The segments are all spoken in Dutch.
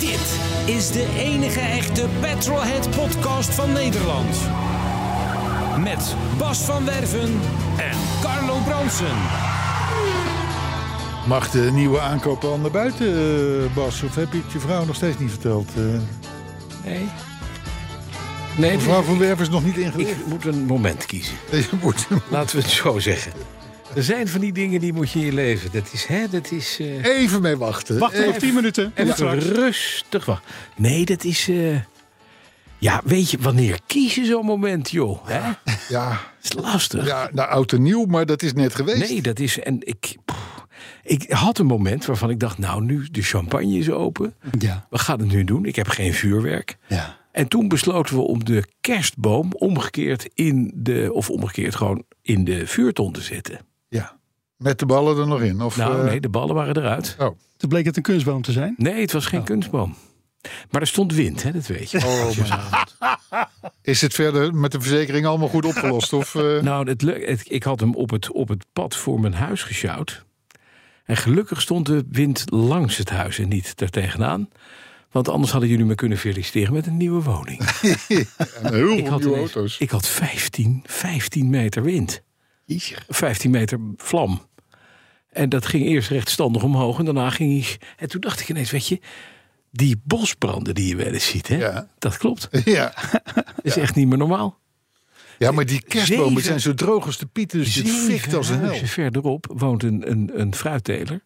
Dit is de enige echte Petrolhead podcast van Nederland. Met Bas van Werven en Carlo Bronsen. Mag de nieuwe aankoop al naar buiten, eh, Bas? Of heb je het je vrouw nog steeds niet verteld? Eh Nee. Nee, mevrouw ik, van Werven is nog niet ingelicht. ik moet een moment kiezen. Je moet- Laten we het zo zeggen. Er zijn van die dingen die moet je in je leven. Dat is, hè, dat is... eh, Even mee wachten. Wacht nog 10 minuten. En even straks. rustig wachten. Nee, dat is... eh, ja, weet je, wanneer kies je zo'n moment, joh? Hè? Dat Ja, is lastig. ja, nou oud en nieuw, maar dat is net geweest. Nee, dat is... En ik, pff, ik had een moment waarvan ik dacht, nou nu, de champagne is open. Ja. We gaan het nu doen. Ik heb geen vuurwerk. ja. En toen besloten we om de kerstboom omgekeerd in de... Of omgekeerd gewoon in de vuurton te zetten. Ja. Met de ballen er nog in. Of, Nou, eh, nee, de ballen waren eruit. Oh, Toen bleek het een kunstboom te zijn. Nee, het was geen kunstboom. Maar er stond wind, hè, dat weet je. oh mijn god. Is het verder met de verzekering allemaal goed opgelost? Of, eh, Nou, het, leuk- het, ik had hem op het, op het pad voor mijn huis gesjouwd. En gelukkig stond de wind langs het huis en niet daartegenaan. Want anders hadden jullie me kunnen feliciteren met een nieuwe woning. en heel ik, veel had nieuwe ineens- auto's. ik had 15, 15 meter wind. 15 meter vlam. En dat ging eerst rechtstandig omhoog en daarna ging hij... En toen dacht ik ineens, weet je, die bosbranden die je wel eens ziet, hè? Ja. dat klopt. Ja. Dat is echt niet meer normaal. ja, maar die kerstbomen Zeven- zijn zo droog als de pieten. Dus dit Zeven fikt als een hel. huizen verderop woont een, een, een fruitteler.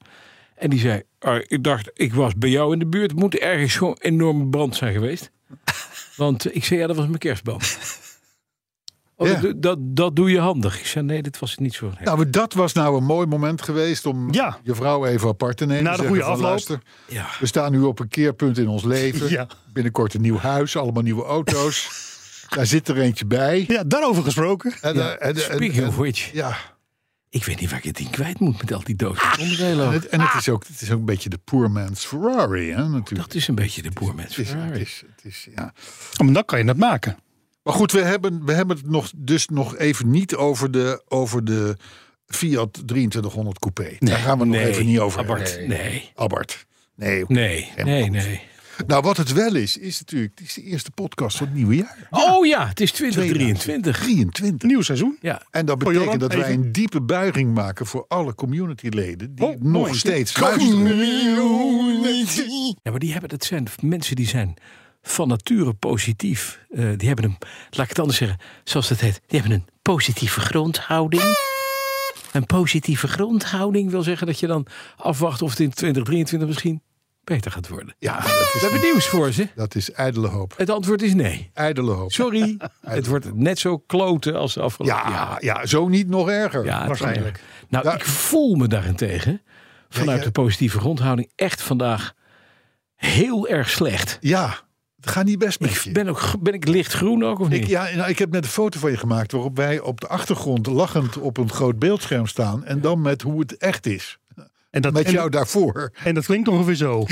En die zei, "Ah, ik dacht, ik was bij jou in de buurt. Moet ergens gewoon enorme brand zijn geweest. Want eh, ik zei, ja, dat was mijn kerstboom. Oh, Ja. dat, doe- dat, dat doe je handig. Ik zei, nee, dit was niet zo. Nou, dat was nou een mooi moment geweest om Ja. je vrouw even apart te nemen. Na de Zeggen goede van, afloop. luister, Ja. We staan nu op een keerpunt in ons leven. Ja. Binnenkort een nieuw huis, allemaal nieuwe auto's. Daar zit er eentje bij. Ja, daarover gesproken. En, eh, en, en, Speaking en- of which, ja. ik weet niet waar ik het ding kwijt moet met al die doosjes onderdelen. En het, en het, is ook, het is ook een beetje de poor man's Ferrari, hè, natuurlijk. Dat is een beetje de boer Het is, het mensen. is, het is, ja. Maar dan kan je dat maken. Maar goed, we hebben, we hebben het nog, dus nog even niet over de, over de Fiat 2300 Coupé. Daar gaan we het nog even niet over Abart, hebben. nee. Abart. Nee. Nee, Geen nee, brand. nee. Nou, wat het wel is, is natuurlijk... Het is de eerste podcast van het nieuwe jaar. Oh ja, het is 2023. 23. Nieuw seizoen. Ja, En dat Voor betekent Joran, dat wij even. een diepe buiging maken voor alle communityleden die Oh, nog mooi. steeds luisteren. Ja, maar die hebben, dat zijn mensen die zijn van nature positief. Eh, die hebben een, laat ik het anders zeggen, zoals dat heet, die hebben een positieve grondhouding. Een positieve grondhouding wil zeggen dat je dan afwacht of het in 2023 misschien beter gaat worden. Ja, dat We hebben is, nieuws voor ze. dat is ijdele hoop. Het antwoord is nee. Ijdele hoop. Sorry, het wordt net zo kloten als de afgelopen Ja, jaren. ja, zo niet nog erger. Ja, het- waarschijnlijk. Nou, Ja. ik voel me daarentegen vanuit ja. de positieve grondhouding echt vandaag heel erg slecht. Ja, het gaat niet best met Ik je. ben, ook, ben ik lichtgroen ook of niet? Ik, ja, nou, ik heb net een foto van je gemaakt waarop wij op de achtergrond lachend op een groot beeldscherm staan. En dan met hoe het echt is. En dat, Met en, jou daarvoor. en dat klinkt ongeveer zo.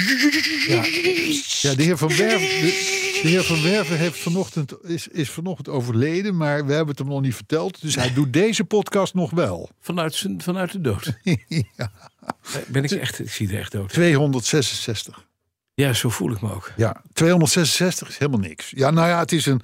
Ja, de heer Van Werven, de, de heer van Werven heeft vanochtend, is, is vanochtend overleden, maar we hebben het hem nog niet verteld. Dus hij doet deze podcast nog wel. Vanuit, zijn, vanuit de dood. Ben ik echt, ik zie er echt dood. 266. Ja, zo voel ik me ook. Ja, 266 is helemaal niks. Ja, nou ja, het is een,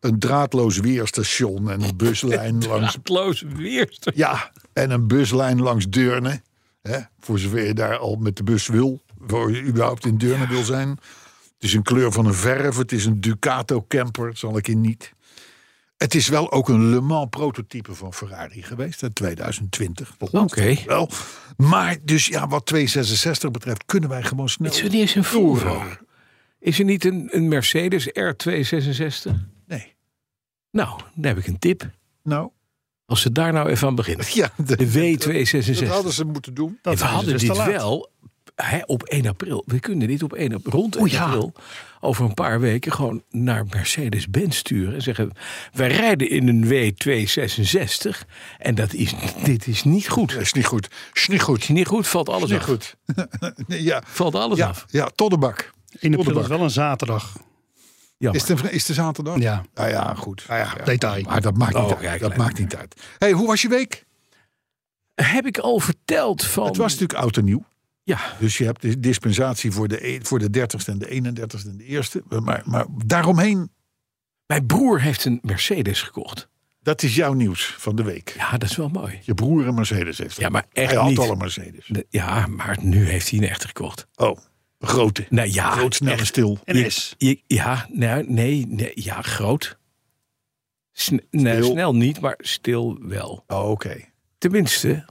een draadloos weerstation en een buslijn langs. Raadloos weer. Ja, en een buslijn langs Deurne. Hè, voor zover je daar al met de bus wil, voor je überhaupt in Deurne wil zijn. Het is een kleur van een verf, het is een Ducato camper, dat zal ik in niet. Het is wel ook een Le Mans prototype van Ferrari geweest, in 2020. Oké. Oké. Wel. Maar dus ja, wat 266 betreft, kunnen wij gewoon snel. Is er niet eens een Volvo? Is er niet een, een Mercedes R266? Nee. Nou, dan heb ik een tip. Nou, Als ze daar nou even aan beginnen. Ja, de- De dat W266. hadden ze moeten doen. Dat we is hadden dus te dit laat. wel hè, op 1 april. We kunnen dit op 1 april, rond 1 april, over een paar weken gewoon naar Mercedes-Benz sturen. En zeggen, wij rijden in een W266 en dat is, dit is niet goed. Dat is niet goed. Is niet goed. Is niet goed, valt alles Niet af. goed. Nee, ja. Valt alles Ja, af. ja, tot de bak. In april Onderbak. is wel een zaterdag. Jammer. Is het een- is de zaterdag? Ja. Nou ja, goed. Nou ja, Detail. Maar dat maakt niet Oh, uit. ja, dat klein. maakt niet uit. hey, hoe was je week? Heb ik al verteld van... Het was natuurlijk oud en nieuw. Ja, Dus je hebt de dispensatie voor de, e- voor de 30ste en de 31ste en de eerste. Maar, maar daaromheen, mijn broer heeft een Mercedes gekocht. dat is jouw nieuws van de week. Ja, dat is wel mooi. Je broer een Mercedes heeft. Ja, maar echt Hij had niet. al een Mercedes. De- Ja, maar nu heeft hij een echte gekocht. Oh, een grote. Nou ja, Groot, snel en echt. stil. En S. Je- ja, nou, nee, nee, ja, groot. Sne- nee, Stil. snel niet, maar stil wel. Oh, oké. Tenminste,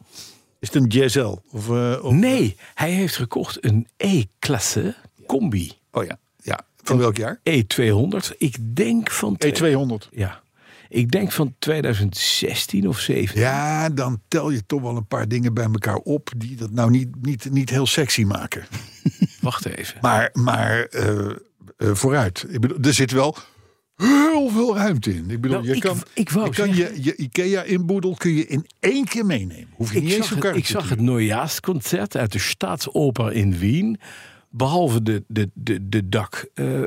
Is het een GSL? Of, eh, of- nee, hij heeft gekocht een E-klasse combi. Oh ja. ja. E Van welk jaar? E200, ik denk van... twee- E200. Ja, ik denk van 2016 of 17. Ja, dan tel je toch wel een paar dingen bij elkaar op die dat nou niet, niet, niet heel sexy maken. Wacht even. Maar, maar eh, eh, vooruit. Ik bedoel, er zit wel heel veel ruimte in. Ik bedoel, Nou, je ik- kan, ik wou je, kan zeggen- je, je IKEA-inboedel kun je in één keer meenemen. Hoef je Ik niet eens zag, een het, ik karretje zag te het Neujaarsconcert uit de Staatsoper in Wien. Behalve de, de, de, de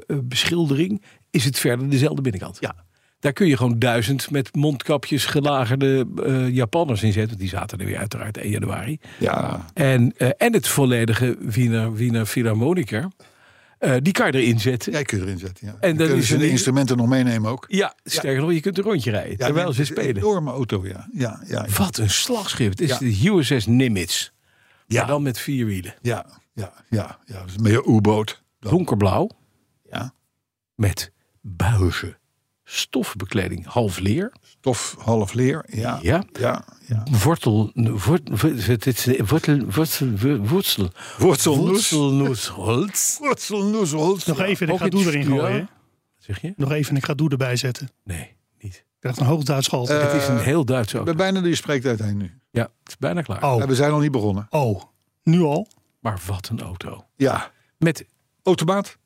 dakbeschildering is het verder dezelfde binnenkant. Ja. Daar kun je gewoon duizend met mondkapjes gelagerde eh, Japanners in zetten. Want die zaten er weer uiteraard 1 januari. doen. Ja, En, eh, en het volledige Wiener, Wiener Philharmoniker. eh, die kan je erin zetten. Ja, jij kunt erin zetten. Ja. En dan dan kunnen is ze er de niet- instrumenten nog meenemen ook. sterker nog, je kunt een rondje rijden. Ja, terwijl dit ze is Een spelen. enorme auto, ja. Ja, ja, ja. Wat een slagschip. Het is Ja. de USS Nimitz. Maar ja, dan met vier wielen. ja, ja, ja, ja. Dat is meer een U-boot. dan. Donkerblauw. Ja. met buizen, stofbekleding, half leer, Stof, half leer. Ja, ja, ja, ja. wortel, wort, wort- het is- wortel, wortel, wortel, Wurzelnoes. wortelnoesholz. Wurzelnoes. Nog even, Ook ik ga in Doe het erin stuur? gooien. Zeg je? Nog even, ik ga Doe erbij zetten. Ik Nee, niet. krijg een hoog Duits schalt. Eh, Het is een heel Duits Ik auto. ben bijna door je spreektijd heen nu. Ja, het is bijna klaar. oh, We zijn al niet begonnen. oh, nu al? Maar wat een auto. Ja. Met Automaat?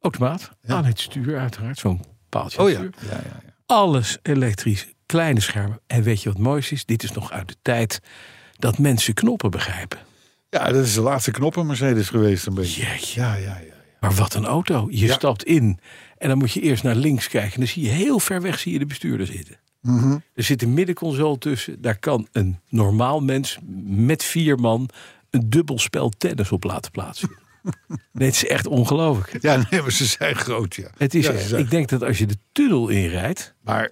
automaat aan het stuur uiteraard, zo'n paaltje aan Oh het ja. ja, stuur. ja, ja. Alles elektrisch, kleine schermen. En weet je wat moois is? Dit is nog uit de tijd dat mensen knoppen begrijpen. Ja, dat is de laatste knop een Mercedes geweest een beetje. Jeetje. Ja, ja, ja. Maar wat een auto. Je Ja. stapt in en dan moet je eerst naar links kijken. En dan zie je heel ver weg zie je de bestuurder zitten. Mhm. Er zit een middenconsole tussen. Daar kan een normaal mens met vier man een dubbel spel tennis op laten plaatsen. nee, het is echt ongelooflijk. Ja, nee, maar ze zijn groot, ja. Het is, Ja, echt- ze zijn- ik denk dat als je de tunnel inrijdt Maar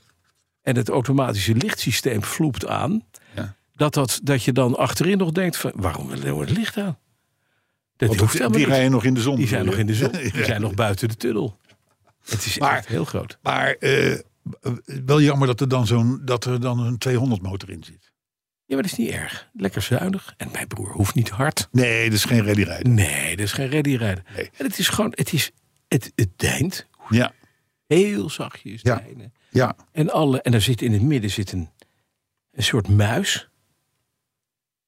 en het automatische lichtsysteem vloept aan, Ja. dat, dat, dat je dan achterin nog denkt van waarom wil het licht aan? Dat want hoeft die, helemaal die niet. rijden nog in de zon. Die zijn bedoel nog je? in de zon. Die zijn nog buiten de tunnel. Het is Maar- echt heel groot. Maar eh, wel jammer dat er dan zo'n dat er dan een 200 motor in zit. Ja, maar dat is niet erg. Lekker zuinig. En mijn broer hoeft niet hard. Nee, dat is geen ready rijden. Nee, dat is geen ready rijden. Nee. En het is gewoon, het is, het, het deint. Ja, Heel zachtjes Ja. deinen. ja. En, alle, en er zit in het midden zit een, een soort muis.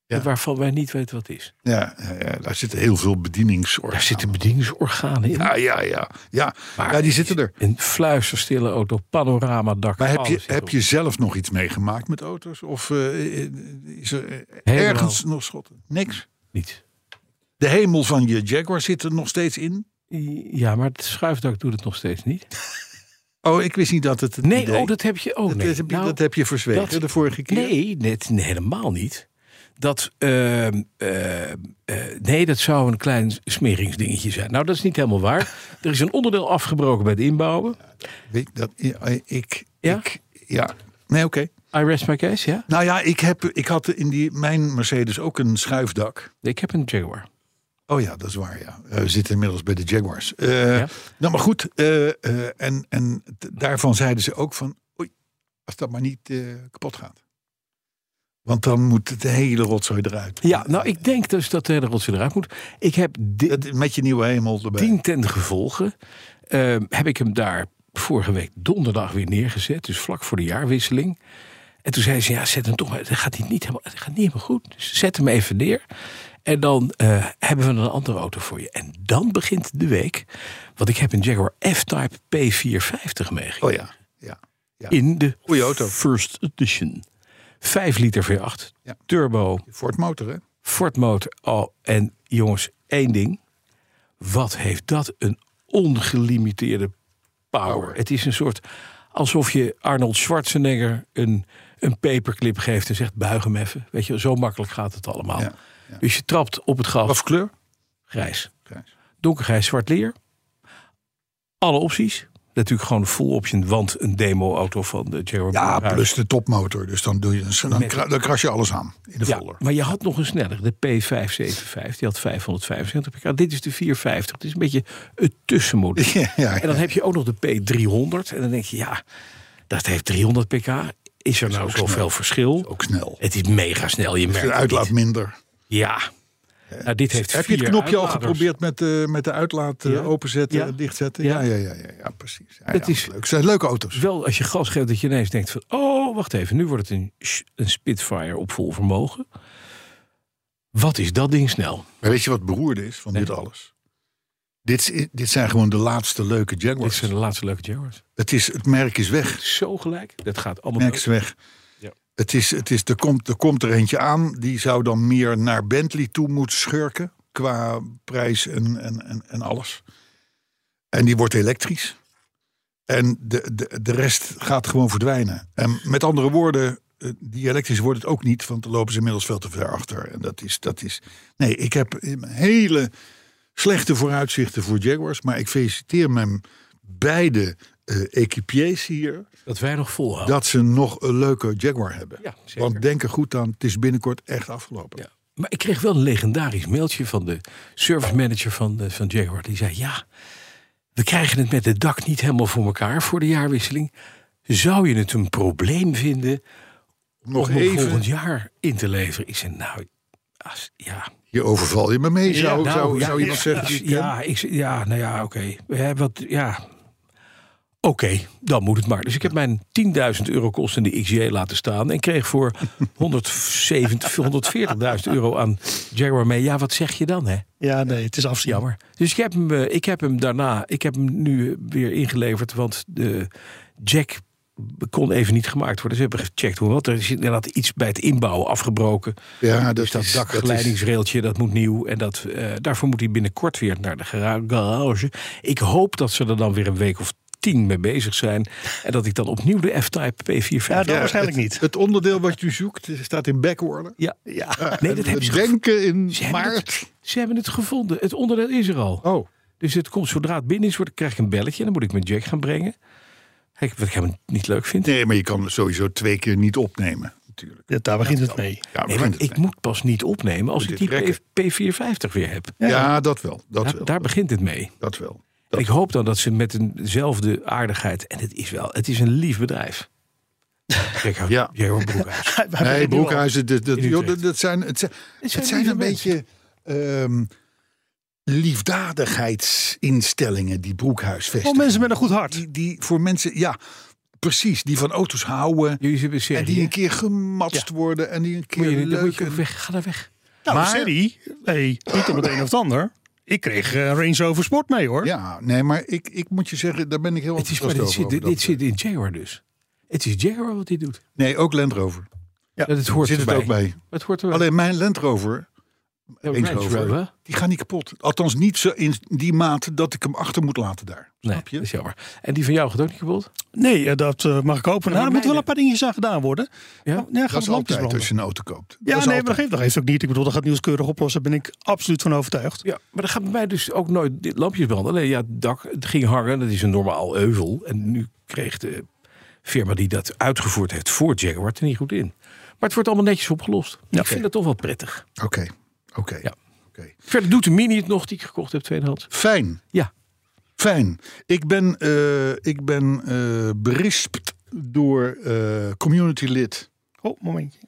Ja. Waarvan wij niet weten wat het is. ja, ja, ja. daar zitten heel veel Daar bedieningsorganen. zitten bedieningsorganen in. Ja, ja, ja. Ja, Maar ja die zitten er. Een fluisterstille auto, panoramadak. Maar heb je, alles zit heb erop. je zelf nog iets meegemaakt met auto's? Of eh, eh, is er eh, Helemaal. ergens nog schotten? Niks. Niet. De hemel van je Jaguar zit er nog steeds in? Ja, maar het schuifdak doet het nog steeds niet. Oh, ik wist niet dat het het Nee, idee- oh, dat heb je ook. dat, nee. dat heb je, Nou, dat heb je verzwegen dat- de vorige keer. nee, net, nee, helemaal niet. Dat, ehm, ehm, eh, nee, dat zou een klein smeringsdingetje zijn. Nou, dat is niet helemaal waar. er is een onderdeel afgebroken bij het inbouwen. Weet, dat, ja, eh, ik, Ja? ik, ja. Nee, oké. I rest my case, ja? Nou ja, ik, heb, ik had in die, mijn Mercedes ook een schuifdak. Ik heb een Jaguar. Oh ja, dat is waar, ja. Eh, We zitten inmiddels bij de Jaguars. Eh, Ja. Nou, maar goed. eh, eh, en en d- daarvan zeiden ze ook van... Oei, als dat maar niet eh, kapot gaat. Want dan moet het hele rotzooi eruit. Ja, nou, ik denk dus dat de hele rotzooi eruit moet. Ik heb dit, Dat- Eh, met je nieuwe hemel erbij. Tien ten gevolge ehm, heb ik hem daar vorige week donderdag weer neergezet. Dus vlak voor de jaarwisseling. En toen zei ze, ja, zet hem toch maar. Dat gaat niet, niet, helemaal, dat gaat niet helemaal goed. Dus zet hem even neer. En dan eh, hebben we een andere auto voor je. En dan begint de week. Want ik heb een Jaguar F-Type P450 meegekregen. Oh ja. ja. In de Goeie auto. First Edition. 5 liter V8. Ja. Turbo. Ford Motor, hè? Ford motor. Oh, en jongens, één ding. Wat heeft dat een ongelimiteerde power. Power. Het is een soort alsof je Arnold Schwarzenegger een, een paperclip geeft en zegt buig hem even. Weet je, zo makkelijk gaat het allemaal. Ja, Dus je trapt op het gas. Of kleur? Grijs. Grijs. Donkergrijs, zwart leer. Alle opties. Natuurlijk gewoon een full option, want een demo-auto van eh, de Jaguar. Ja, Bluegrass. plus de topmotor. Dus dan, doe je, dan, Met- kra- dan kras je alles aan in de Ja, folder. maar je had nog een sneller, de P575. Die had 575 pk. Dit is de 450. Het is een beetje het tussenmodel. Ja, ja, En dan heb je ook nog de P300. En dan denk je, ja, dat heeft 300 pk. Is er nou ook zoveel snel. verschil? Ook snel. Het is mega snel, je merkt De het uitlaat niet. minder. Ja. Nou, dit heeft Heb je het vier knopje al uitladers. geprobeerd met, eh, met de uitlaat eh, Ja. openzetten Ja. en dichtzetten? Ja. Ja, ja, ja, ja, ja precies. Ja, Het ja, is- leuk. Het zijn leuke auto's. Wel als je gas geeft dat je ineens denkt van... oh, wacht even, nu wordt het een, sh- een Spitfire op vol vermogen. Wat is dat ding snel? Maar weet je wat beroerd is van Nee. dit alles? Dit, is- dit zijn gewoon de laatste leuke Dit Jaguars. zijn de laatste leuke Jaguars. Het, is, het merk is weg. Zo gelijk. Dat gaat allemaal... Merk is weg. Ja. Het is, het is, er, komt, er komt er eentje aan. Die zou dan meer naar Bentley toe moeten schurken. Qua prijs en, en, en, en alles. En die wordt elektrisch. En de, de, de rest gaat gewoon verdwijnen. En met andere woorden, eh, die elektrisch wordt het ook niet. Want dan lopen ze inmiddels veel te ver achter. En dat is, dat is... Nee, ik heb eh, hele slechte vooruitzichten voor Jaguars. Maar ik feliciteer mijn beide eh equipiers hier Dat wij nog volhouden. dat ze nog een leuke Jaguar hebben. Ja, zeker. Want denk er goed aan, het is binnenkort echt afgelopen. Ja. Maar ik kreeg wel een legendarisch mailtje van de service manager van, de, van Jaguar. Die zei, ja, we krijgen het met het dak niet helemaal voor elkaar voor de jaarwisseling. Zou je het een probleem vinden Nog om hem volgend even, jaar in te leveren? Ik zei, nou, als- ja... je overval je me mee, zou, nou, zou, ja, zou iemand ja, zeggen. die ik ken. Ja, ja, ik, z- ja, nou ja, oké. Ja, wat, ja. Oké, dan moet het maar. Dus ik heb mijn 10.000 euro kostende XJ laten staan. En kreeg voor 170 140.000 euro aan Jaguar mee. Ja, wat zeg je dan, hè? Ja, nee, het is afzien. Jammer. Dus ik heb hem, eh, ik heb hem daarna, ik heb hem nu eh, weer ingeleverd. Want de jack kon even niet gemaakt worden. Ze hebben gecheckt hoe wat. Er is inderdaad iets bij het inbouwen afgebroken. Ja, dat, Dus dat is, dat is- dakgeleidingsrailtje, dat moet nieuw. En dat, eh, daarvoor moet hij binnenkort weer naar de gara- garage. Ik hoop dat ze er dan weer een week of tien mee bezig zijn. En dat ik dan opnieuw de F-Type P45... Ja, dat ja, waarschijnlijk het, niet. Het onderdeel wat u zoekt eh, staat in backorder. ja. Ja, Nee, en dat we hebben ze denken in Ze hebben, het, maart. ze hebben het gevonden. Het onderdeel is er al. Oh, Dus het komt zodra het binnen is, word, krijg ik een belletje. En dan moet ik mijn Jack gaan brengen. Kijk, wat ik hem niet leuk vind. nee, maar je kan het sowieso twee keer niet opnemen. Natuurlijk. Ja, daar begint het mee. Ja, Nee, we maar vinden ik het moet pas niet opnemen als ik Moet die je P- P450 weer heb. mee. ja, dat wel. Dat Daar, wel. daar begint het mee. dat wel. En Dat- ik hoop dan dat ze met eenzelfde aardigheid... En het is wel, het is een lief bedrijf. Jaguar Ja. Jaguar Broekhuis. Hij- hij Nee, begint nu al. broekhuizen, dat, dat, In Utrecht. joh, dat, dat zijn, het zijn, het zijn, lieve een beetje ehm, liefdadigheidsinstellingen die broekhuis vestigen. Oh, mensen met een goed hart. die, die voor mensen, ja, precies, die van auto's houden. Jullie hebben een serie, En die hè? een keer gematst worden en die een Moet keer eh, je, dan moet leuk. je ook weg. Ga daar weg. Nou, Maar- serie, nee, niet om het een of het ander. Ik kreeg eh, Range Rover Sport mee, hoor. Ja, nee, maar ik, ik moet je zeggen, daar ben ik heel Het is, maar enthousiast dit, over, zit, over dit, dat dit zit in Jaguar dus. Het is Jaguar wat hij doet. soort- Nee, ook Land Rover. Dat het hoort zit het erbij. ook bij. Het hoort erbij. Alleen mijn Land Rover, Ja, Range Range Rover. Rover. die gaat niet kapot. Althans, niet zo in die mate dat ik hem achter moet laten daar. Nee, Snap je? dat is jammer. En die van jou gaat ook niet kapot? Nee, eh, dat eh, mag ik hopen. Nou, er moeten mijne- wel een paar dingetjes aan gedaan worden. Ja? Nou, ja, Dat gaat is het lampjes altijd branden. dus- als je een auto koopt. Ja, dat is nee, maar dat altijd. geeft, dat geeft ook niet. Ik bedoel, dat gaat Niels keurig oplossen. Daar ben ik absoluut van overtuigd. Ja, maar dat gaat bij mij dus ook nooit dit lampjes branden. Alleen ja, het dak het ging hangen. Dat is een normaal euvel. En nu kreeg de firma die dat uitgevoerd heeft voor Jaguar het er niet goed in. Maar het wordt allemaal netjes opgelost. Ik vind dat toch wel prettig. Oké, oké. Ja. oké. Verder doet de Mini het nog die ik gekocht heb tweedehands. Fijn. Ja. Fijn. Ik ben, eh, ik ben eh, berispt door eh, community-lid. Oh, momentje.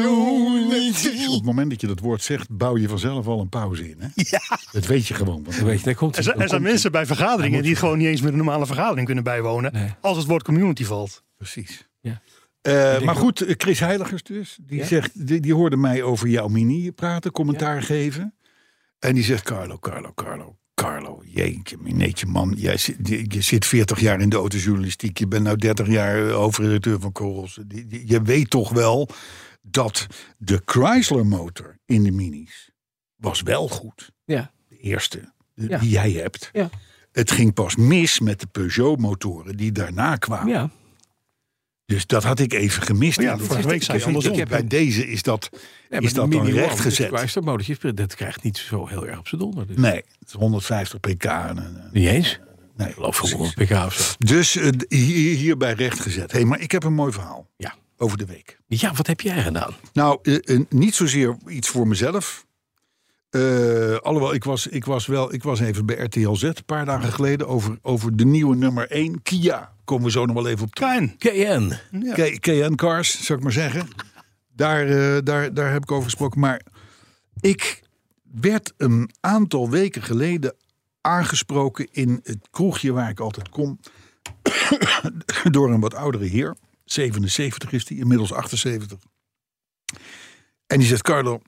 Community. Op het moment dat je dat woord zegt, bouw je vanzelf al een pauze in. Hè? Ja. Dat weet je gewoon. Want Dan weet je, daar komt Er zijn, er zijn mensen bij vergaderingen die gewoon niet eens met een normale vergadering kunnen bijwonen. Nee. Als het woord community valt. Precies. Ja. Eh, maar goed, eh, Chris Heiligers dus. Die, Ja. zegt, die, die hoorde mij over jouw mini praten, commentaar geven. En die zegt, Carlo, Carlo, Carlo, Carlo. Jeetje, mineetje man. Jij, zit- je, je zit 40 jaar in de autojournalistiek. Je bent nou 30 jaar eh, hoofdredacteur van Korrels. Die- die- Je weet toch wel dat de Chrysler motor in de minis was wel goed. Ja. De eerste de- Ja. die jij hebt. Ja. Het ging pas mis met de Peugeot-motoren die daarna kwamen. Ja. Dus dat had ik even gemist. Oh Ja, in dit- vorige week zei je ik vind andersom. dat Bij deze is dat, is dat dan rechtgezet? Chrysler dus dat krijgt niet zo heel erg op zijn donder. Dus. Nee, het is 150 pk. en, eh, Niet eens? Nee, Geloof precies. ik wel, pk of zo. Dus eh, d- hier, hierbij rechtgezet. hey, maar ik heb een mooi verhaal Ja. over de week. Ja, wat heb jij gedaan? Nou, eh, eh, niet zozeer iets voor mezelf. Eh, alhoewel, ik was, ik, was wel, ik was even bij RTL Z een paar dagen geleden over, over de nieuwe nummer 1, Kia. Komen we zo nog wel even op terug. Klein. KN. Ja. K- KN Cars, zou ik maar zeggen. Daar, eh, daar, daar heb ik over gesproken. Maar ik werd een aantal weken geleden aangesproken in het kroegje waar ik altijd kom. door een wat oudere heer. 77 is die, inmiddels 78. En die zegt, Carlo,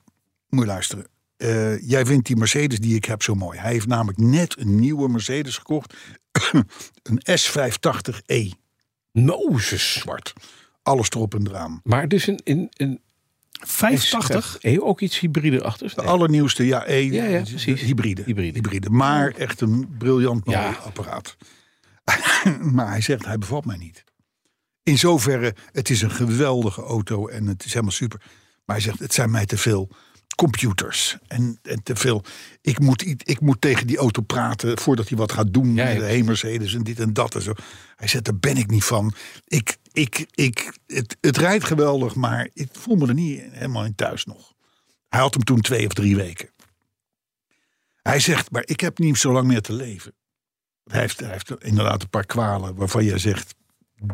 moet je luisteren. Eh, jij vindt die Mercedes die ik heb zo mooi. Hij heeft namelijk net een nieuwe Mercedes gekocht. een S580e, Mozes. zwart. Alles erop en eraan. Maar dus een, een, een 85. Hey, ook iets hybride achter. De allernieuwste, ja, E, Ja, ja, de- precies. Hybride. Hybride. Maar echt een briljant mooi Ja. apparaat. maar hij zegt, hij bevalt mij niet. In zoverre, het is een geweldige auto en het is helemaal super. Maar hij zegt, het zijn mij te veel computers. En, en te veel, ik moet, i- ik moet tegen die auto praten voordat hij wat gaat doen. Ja, ja, met de hey, Mercedes en dit en dat en zo. Hij zegt, daar ben ik niet van. Ik, ik, ik, het, het rijdt geweldig, maar ik voel me er niet helemaal in thuis nog. Hij had hem toen twee of drie weken. Hij zegt, maar ik heb niet zo lang meer te leven. Hij heeft, hij heeft inderdaad een paar kwalen waarvan jij zegt,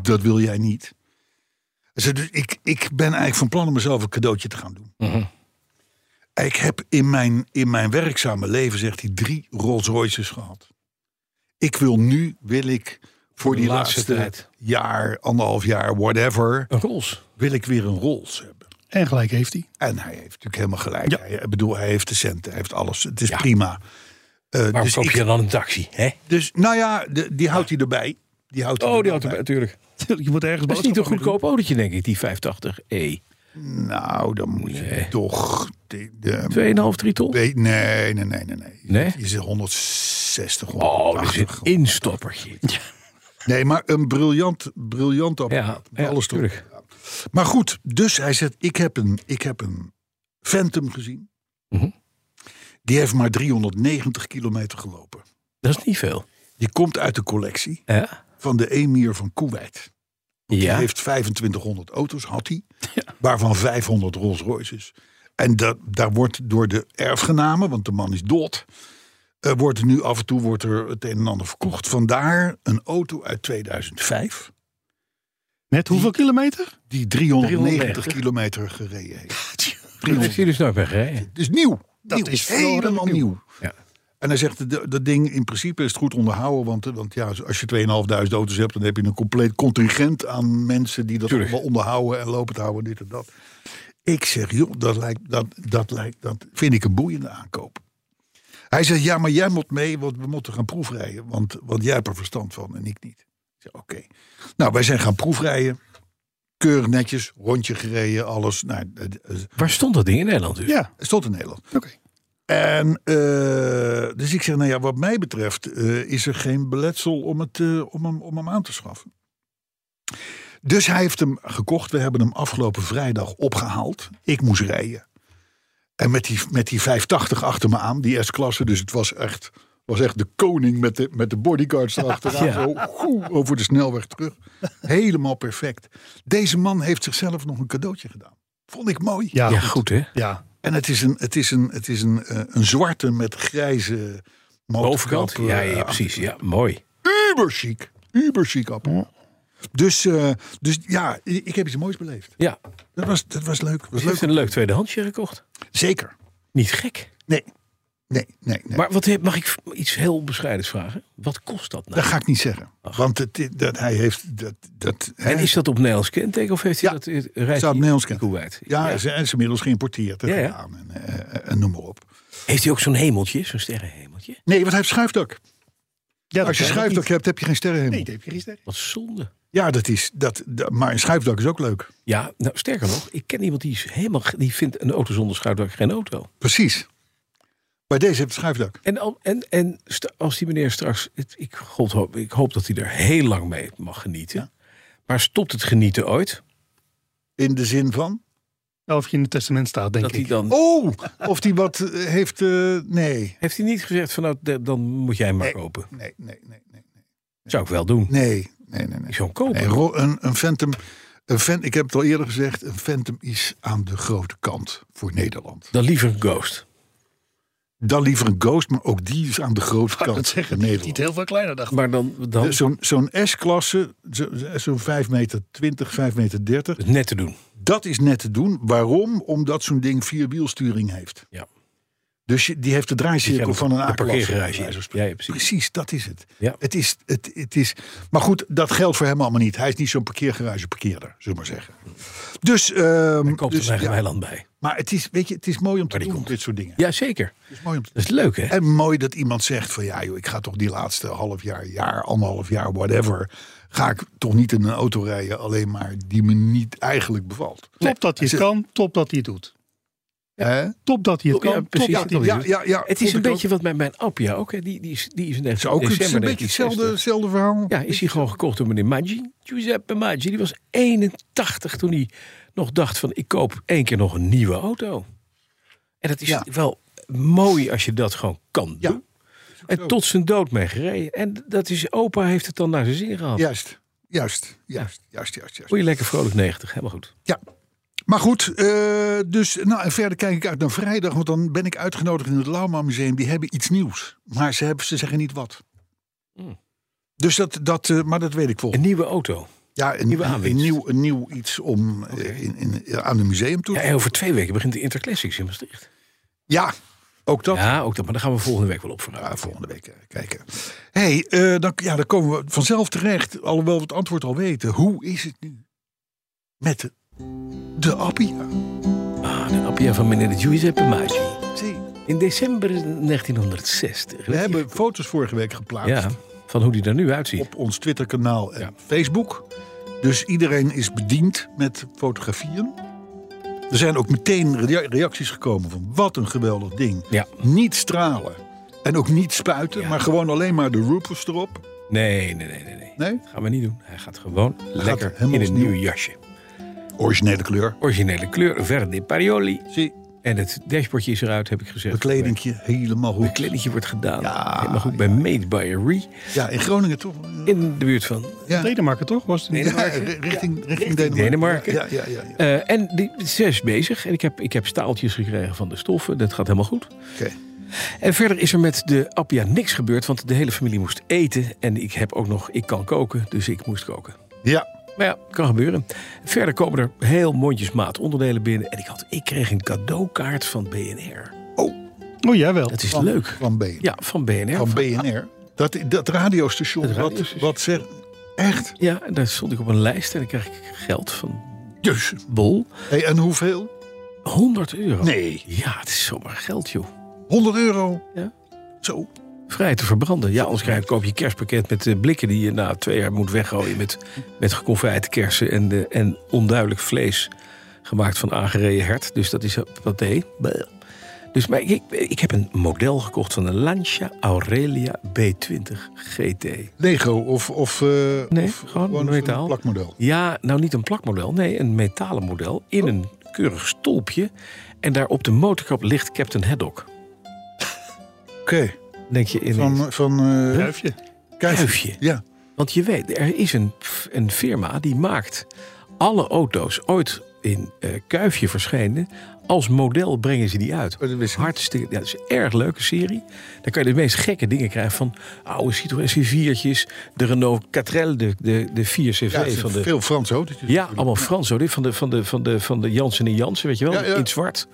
dat wil jij niet. Hij zegt, dus ik, ik ben eigenlijk van plan om mezelf een cadeautje te gaan doen. Mhm. Ik heb in mijn, in mijn werkzame leven, zegt hij, drie Rolls Royces gehad. Ik wil nu, wil ik voor de die laatste laatste, tijd. jaar, anderhalf jaar, whatever, Een Rolls. wil ik weer een Rolls hebben. En gelijk heeft hij. En hij heeft natuurlijk helemaal gelijk. Hij, ik bedoel, hij heeft de centen, hij heeft alles. Het is prima. Eh, Maar dus, koop ik- je dan een taxi? Hè? dus, nou ja, de- die houdt hij erbij. Die houdt hij Oh, die er auto, wel natuurlijk. Je moet ergens Dat is niet een boodschappen goedkoop autootje, denk ik, die Eh, 580e. bij. Nou, dan moet je toch... De, de- 2,5, 3 ton? Nee, nee, nee, nee, nee, nee. Nee? Je zit 160, Oh, er 180. zit een instoppertje. Nee, maar een briljant, briljant Ja, apparaat. ja, Alles toch. tuurlijk. Maar goed, dus hij zegt, ik heb een, ik heb een Phantom gezien. Mhm. Die heeft maar 390 kilometer gelopen. Dat is niet veel. Die komt uit de collectie Ja? van de emir van Kuwait. Die Ja. heeft 2500 auto's, had hij. Waarvan 500 Rolls Royces. En dat, daar wordt door de erfgenamen, want de man is dood... eh, wordt er nu af en toe wordt er het een en ander verkocht. Vandaar een auto uit 2005 Net hoeveel kilometer? die 390 390. kilometer gereden heeft. Dat is 300. hier dus nooit weggereden. Dus nieuw. Dat is is wel helemaal redelijk nieuw. Ja. En hij zegt, dat- dat ding in principe is het goed onderhouden. Want, eh, want ja, als je 2.500 auto's hebt, dan heb je een compleet contingent aan mensen die dat Tuurlijk. allemaal onderhouden en lopend houden, dit en dat. Ik zeg, joh, dat, lijkt, dat, dat, lijkt, dat vind ik een boeiende aankoop. Hij zegt, ja, maar jij moet mee, want we moeten gaan proefrijden. Want, want jij hebt er verstand van en ik niet. Ik zeg, oké. Nou, wij zijn gaan proefrijden. Keurig netjes, rondje gereden, alles. Nou, het- het- Waar stond dat ding in Nederland dus? Ja. het stond in Nederland. Oké. En eh, dus ik zeg, nou ja, wat mij betreft eh, is er geen beletsel om, het, eh, om, hem, om hem aan te schaffen. Dus hij heeft hem gekocht. We hebben hem afgelopen vrijdag opgehaald. Ik moest rijden. En met die, met die 580 achter me aan, die S-klasse. Dus het was echt, was echt de koning met de, met de bodyguards erachteraan. Ja. Zo goe, over de snelweg terug. Helemaal perfect. Deze man heeft zichzelf nog een cadeautje gedaan. Vond ik mooi. Ja, Ja, goed. goed hè? Ja. En het is een, het is een, het is een, eh, een zwarte met grijze eh, Bovenkant? Ja, ja, precies. Ja, mooi. Uberchic. Uberchic appel. Dus, eh, dus ja, i- ik heb iets moois beleefd. Ja. Dat was, dat was leuk. was Ze heeft leuk. een leuk tweedehandsje gekocht. Zeker. Niet gek. Nee. Nee, nee, nee. Maar wat, he- mag ik iets heel bescheidens vragen? Wat kost dat nou? dat ga ik niet zeggen. Want het, dat hij heeft. Dat, dat, En is dat op Nederlands kenteken of heeft hij Ja, dat eh, rijdt staat op hij in Nederlands kenteken. Kuwait? ja, Ze, en is inmiddels geïmporteerd en Ja, ja. gedaan en, eh, en noem maar op. Heeft hij ook zo'n hemeltje, zo'n sterrenhemeltje? Nee, want hij heeft schuifdak. Ja, Als je schuifdak hebt, heb je geen sterrenhemel. Nee, dat heb je gisteren. Wat zonde. Ja, dat is. Dat, dat- maar een schuifdak is ook leuk. Ja, nou sterker nog, ik ken iemand die is helemaal ge- die vindt een auto zonder schuifdak geen auto. Precies. Bij deze heeft het schuifdak. En, al- en, en st- als die meneer straks, het- ik, God hoop, ik hoop dat hij er heel lang mee mag genieten. Maar stopt het genieten ooit? In de zin van. Of je in het testament staat, denk Dat hij ik. dan, Oh, of die wat eh, heeft. eh, nee. Heeft hij niet gezegd van nou, de- dan moet jij hem maar Nee. kopen? Nee, nee, nee, nee. Zou ik wel doen. Nee, nee, nee. nee. Ik zou hem kopen. Nee, ro- een, een Phantom. Een fan, ik heb het al eerder gezegd. Een Phantom is aan de grote kant voor Nederland. Dan liever een Ghost. Dan liever een Ghost, maar ook die is aan de grote Ik kan kant het zeggen, voor die niet Nederland. heel veel kleiner dacht. ik. Maar dan, dan Dus Zo'n zo'n S-klasse, zo- zo- zo'n 5 meter 20, 5 meter 30. het net te doen. Dat is net te doen. Waarom? Omdat zo'n ding vierwielsturing heeft. Ja. Dus je- die heeft de draaicirkel De van een A-klasse. parkeergarage. bij wijze van Ja, ja, precies. Precies, dat is het. Ja. Het, is, het, het is. Maar goed, dat geldt voor hem allemaal niet. Hij is niet zo'n parkeergarageparkeerder, zullen we maar zeggen. Dus, ehm, Hij koopt er dus, zijn ja. eiland bij. maar het is, weet je, het is mooi om te Maar die doen, komt. dit soort dingen. Jazeker. Het is mooi om te- Dat is leuk hè? En mooi dat iemand zegt van ja joh, ik ga toch die laatste half jaar, jaar, anderhalf jaar, whatever. Ga ik toch niet in een auto rijden, alleen maar die me niet eigenlijk bevalt. Top dat hij het Ze- kan, top dat hij het doet. Hè? Top dat hij het Oh, Ja, kan, top precies. dat hij het Ja, doet. ja, ja. Het is vond een ik ook. beetje wat met mijn Appia ook. Hè? Die, die is, die is in Het is ook het is december een beetje hetzelfde, 1960. hetzelfde verhaal. Ja, is hij gewoon gekocht door meneer Maggi. Giuseppe Maggi. Die was 81 toen hij nog dacht van ik koop één keer nog een nieuwe auto. En dat is Ja. wel mooi als je dat gewoon kan Ja, doen. En tot zijn dood mee gereden. En dat is, opa heeft het dan naar zijn zin gehad. Juist, juist, juist, juist, juist. juist. Word je lekker vrolijk 90, helemaal goed. Ja. Maar goed, eh, dus nou, en verder kijk ik uit naar vrijdag, want dan ben ik uitgenodigd in het Lauma Museum. Die hebben iets nieuws, maar ze, hebben, ze zeggen niet wat. Hmm. Dus dat, dat, eh, maar dat weet ik volgens Een nieuwe auto. Ja, een, nieuwe een- een, aanwinst. nieuw, een nieuw iets om eh, in, in, aan het museum toe Ja, te en over twee weken begint de Interclassics in Maastricht. Ja, ook dat. Ja, ook dat. Maar daar gaan we volgende week wel op vooruit. Ja, volgende week eh, kijken. hey, eh, dan, ja, dan komen we vanzelf terecht, alhoewel we het antwoord al weten. Hoe is het nu met de, de Appia? Ah, de Appia van meneer Giuseppe Maggi. Zie, In december 1960. we hebben foto's vorige week geplaatst Ja, van hoe die er nu uitziet. op ons Twitterkanaal en Ja. Facebook. Dus iedereen is bediend met fotografieën. Er zijn ook meteen rea- reacties gekomen van wat een geweldig ding. Ja. Niet stralen en ook niet spuiten, Ja. maar gewoon alleen maar de roofers erop. Nee, nee, nee, nee. nee. Nee? Dat gaan we niet doen. Hij gaat gewoon lekker helemaal in een opnieuw. nieuw jasje. Originele kleur. Originele kleur, verde parioli. Zie, En het dashboardje is eruit, heb ik gezegd. het kledingje helemaal Het goed. kledingje wordt gedaan. Ja, Helemaal goed bij Made by Re. Ja, in Groningen toch? In de buurt van Ja. Denemarken toch? Was het niet? Ja, Eh, ri- richting, richting Denemarken. Denemarken. Ja, ja, ja. ja. Eh, en die, ze is bezig. En ik heb, ik heb staaltjes gekregen van de stoffen. Dat gaat helemaal goed. Oké. En verder is er met de Appia niks gebeurd. Want de hele familie moest eten. En ik heb ook nog... Ik kan koken, dus ik moest koken. ja. Maar Nou ja, kan gebeuren. Verder komen er heel mondjesmaat onderdelen binnen. En ik, had, ik kreeg een cadeaukaart van BNR. Oh, jij wel. Dat is Van- leuk. Van BNR. Ja, van BNR. Van BNR. Dat, dat radiostation, Het wat, radiostation. wat zegt... Echt? Ja, en daar stond ik op een lijst en dan kreeg ik geld van Dus. Bol. Hey, en hoeveel? 100 euro. Nee. Ja, het is zomaar geld, joh. 100 euro? Ja. Zo. Vrij te verbranden. Ja, anders krijg je, koop je kerstpakket met eh, blikken die je na twee jaar moet weggooien. Met, met geconfijte kersen en, eh, en onduidelijk vlees gemaakt van aangereden hert. Dus dat is een paté. Bleh. Dus maar ik, ik heb een model gekocht van een Lancia Aurelia B20 GT. Lego of... of eh, Nee, of gewoon zo'n metaal. plakmodel. Oh. Ja, nou niet een plakmodel, nee, een metalen model in een keurig stolpje. En daar op de motorkap ligt Captain Haddock. Oké. Denk je in een Van... van eh, Oh, Duifje. Kuifje. kuifje. Ja. Want je weet, er is een, f- een firma die maakt alle auto's ooit in eh, Kuifje verschenen... Als model brengen ze die uit. Oh, dat wist ik Hartstikke, ja, dat is een erg leuke serie. Dan kan je de meest gekke dingen krijgen van oude Citroën C4'tjes, de Renault Catrel, de, de, de 4CV Ja, het van zijn de veel Franse autootjes. ja, allemaal Frans. Hoor. Dit van de, van de, van de, van de Jansen en Jansen, weet je wel? Ja, ja. In het zwart.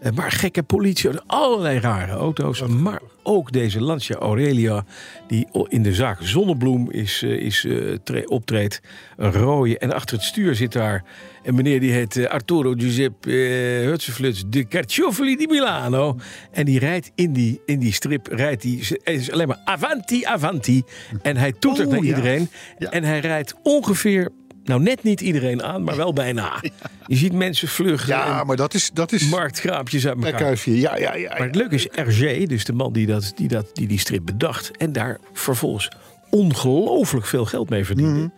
Eh, Maar gekke politie. Allerlei rare auto's. maar ook deze Lancia Aurelia, die o- in de zaak Zonnebloem is, eh, is, eh, tre- optreedt. Een rode. En achter het stuur zit daar een meneer die heet eh, Arturo Giuseppe eh, Hutsefluts de Carciofoli di Milano. En die rijdt in die, in die strip, rijdt die, ze- het is alleen maar avanti, avanti. En hij toetert Oh, naar ja. iedereen. Ja. En hij rijdt ongeveer, nou net niet iedereen aan, maar wel bijna. Je ziet mensen vluchten Ja, en maar dat is... Dat is marktgraapjes uit elkaar. Lekhuisje. Ja, ja, ja. Maar het leuke is, RG, dus de man die, dat, die, dat, die die strip bedacht... en daar vervolgens ongelooflijk veel geld mee verdiende...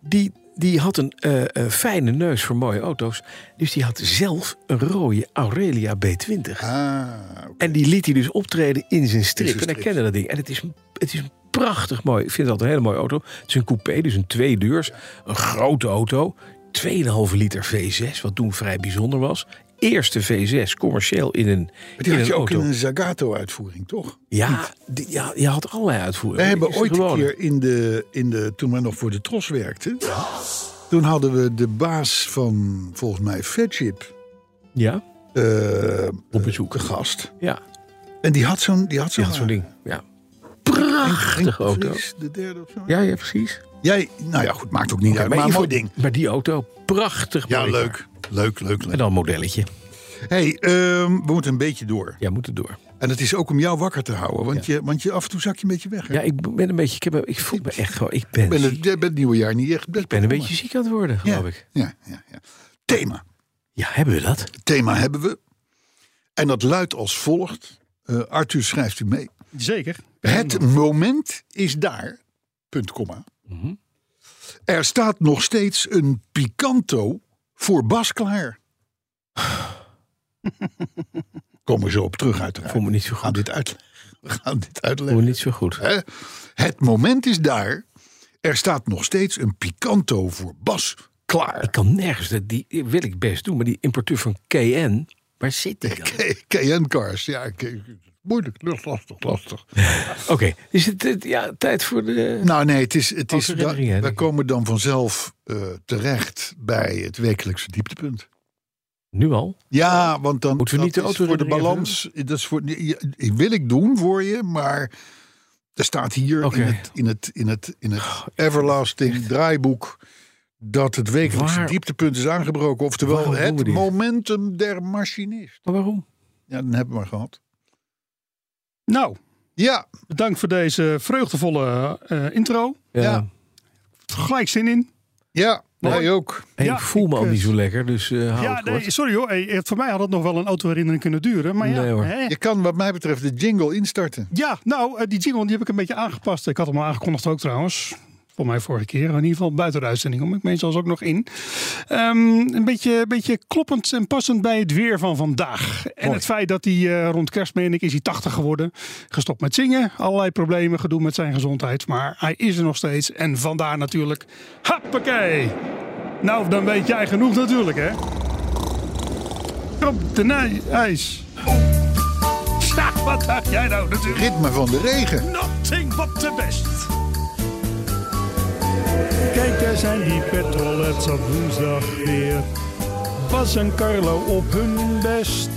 Die, die had een eh, eh, fijne neus voor mooie auto's. Dus die had zelf een rode Aurelia B20. Ah, oké. En die liet hij dus optreden in zijn strip. In zijn En hij strip. kende dat ding. En het is, een- het is een prachtig mooi. Ik vind dat een hele mooie auto. Het is een coupé, dus een tweedeurs. Een grote auto. 2,5 liter V6, wat toen vrij bijzonder was. Eerste V6, commercieel in een, Maar in die had een je ook auto. in een Zagato-uitvoering, toch? Ja, die- ja, je had allerlei uitvoeringen. We hebben Is het ooit een gewoon- keer in de, in de. toen wij nog voor de Tros werkten. Toen hadden we de baas van volgens mij Fedchip. Ja, eh Op bezoek. Een gast. ja, En die had zo'n. Die had zo'n ja zo'n ding. Ja. Prachtige Henk de auto. Vries, de derde of zo. Ja, ja, precies. Jij, nou ja, goed, maakt ook niet uit. in Maar een ieder mooi geval- ding. Maar die auto, prachtig Ja, mooi. leuk. Leuk, leuk, leuk. En dan een modelletje. hey, ehm, we moeten een beetje door. Ja, moet het door. En dat is ook om jou wakker te houden. Want, je, want je, af en toe zak je een beetje weg. hè? Ja, ik ben een beetje. Ik, heb, ik voel me echt gewoon. Ik ben, Ik ben het, ziek. ik ben het nieuwe jaar niet echt. ik ben een beetje ziek aan het worden, geloof ja, ik. Ja, ja, ja. Thema. Ja, hebben we dat? thema hebben we. En dat luidt als volgt. Eh, Arthur schrijft u mee. Zeker. Het moment is daar. Punt, komma. Er staat nog steeds een Picanto voor Bas klaar. Komen we zo op terug uiteraard. Voel me niet zo We gaan goed. dit Eh, uitleggen. We gaan dit Voel me uitleggen. niet zo goed. Hè? Het moment is daar. Er staat nog steeds een Picanto voor Bas Ik klaar. kan nergens. dat- Die wil ik best doen, maar die importeur van KN. Waar zit die dan? KN Cars. Ja, ik- moeilijk. Lastig, lastig. Oké, is het eh, ja, tijd voor de. Nou nee, het is, het Als is, herinnering, hè, we denk ik. komen dan vanzelf eh, terecht bij het wekelijkse dieptepunt. Nu al? Ja, want dan Moeten we niet dat de is voor de autoherinnering balans. eh, Dat is voor, ja, die wil ik doen voor je, maar er staat hier Oké. Oh, in, het, in, het, in, het, in het everlasting draaiboek dat het wekelijkse Waar- dieptepunt is aangebroken. Oftewel Waarom doen we het dit? momentum der machinist. Maar waarom? Ja, dan hebben we maar gehad. Nou, Ja, bedankt voor deze vreugdevolle eh, intro. Ja. Ja. Gelijk zin in. ja, Nee. wij ook. Hey, Ja, ik voel me ik, al eh, niet zo lekker, dus eh hou ja, het kort. nee, sorry hoor. Hey, het- voor mij had het nog wel een autoherinnering kunnen duren. Maar ja, Nee, hoor. hè? Je kan wat mij betreft de jingle instarten. ja, nou, eh, die jingle die heb ik een beetje aangepast. Ik had hem al aangekondigd ook trouwens. Voor mij vorige keer. In ieder geval buiten de uitzending. Om ik meen zelfs ook nog in. Ehm, een beetje, beetje kloppend en passend bij het weer van vandaag. En het feit dat hij eh, rond kerst, meen ik, is hij 80 geworden. Gestopt met zingen. Allerlei problemen, gedoe met zijn gezondheid. Maar hij is er nog steeds. En vandaar natuurlijk... Happakee! Nou, dan weet jij genoeg natuurlijk, hè? Krop de nij- ijs. Ja, wat dacht jij nou natuurlijk? Ritme van de regen. Nothing but the best. Kijk, daar zijn die petrolets op woensdag weer. Bas en Carlo op hun best.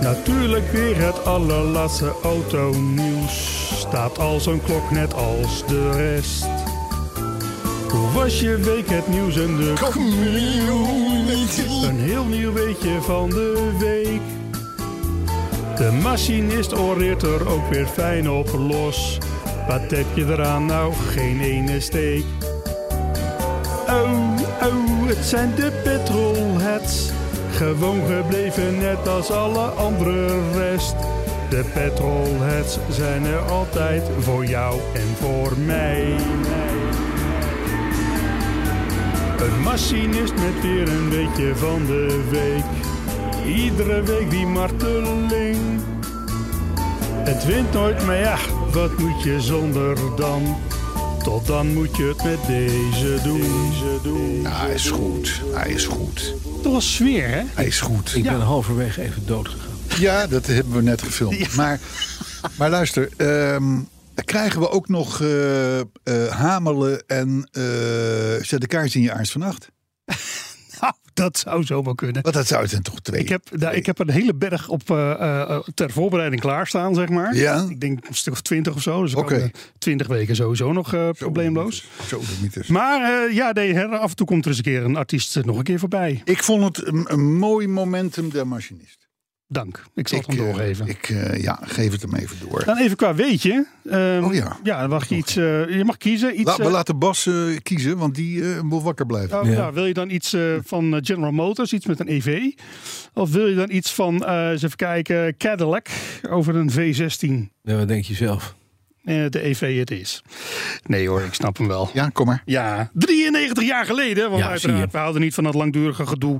Natuurlijk weer het allerlaatste autonieuws. Staat al zo'n klok net als de rest. Hoe was je week het nieuws en de Een heel nieuw weetje van de week. De machinist oreert er ook weer fijn op los. Wat heb je eraan nou? Geen ene steek. Oh, oh, het zijn de petrolheads. Gewoon gebleven net als alle andere rest. De petrolheads zijn er altijd voor jou en voor mij. Een machinist met weer een beetje van de week. Iedere week die marteling. Het wint nooit, maar ja, wat moet je zonder dan? Tot dan moet je het met deze doen. Eh, Ja, hij is goed. Hij is goed. Dat was sfeer, hè? Hij is goed. Ik ben halverwege even dood gegaan. Ja, dat hebben we net gefilmd. Maar, maar luister, ehm, krijgen we ook nog eh, eh, hamelen en eh, zet de kaars in je aars vannacht? Nou, dat zou zomaar kunnen. Want dat zou het dan toch twee. Ik heb, daar, ik heb een hele berg op, eh, eh, ter voorbereiding klaarstaan, zeg maar. Ja? Ik denk een stuk of twintig of zo. Dus Oké. twintig weken sowieso nog eh, probleemloos. Zo, de mythes. Maar eh, ja, nee, hè, af en toe komt er eens een keer een artiest eh, nog een keer voorbij. Ik vond het een, een mooi momentum der machinist. Dank. Ik zal het eh, hem doorgeven. Ik, eh, ja, geef het hem even door. Dan even qua weetje. Ehm, Oh ja. dan mag je, iets, eh, je mag kiezen. Iets, Laat, we eh, laten Bas eh, kiezen, want die eh, moet wakker blijven. nou, Ja. ja, wil je dan iets eh, van eh, General Motors, iets met een EV? Of wil je dan iets van, eh, eens even kijken, Cadillac over een V16? Ja, Nou, wat denk je zelf? Eh, de EV het is. Nee hoor, ik snap hem wel. Ja, kom maar. Ja, 93 jaar geleden. Want Ja, zie uiteraard, je. we houden niet van dat langdurige gedoe.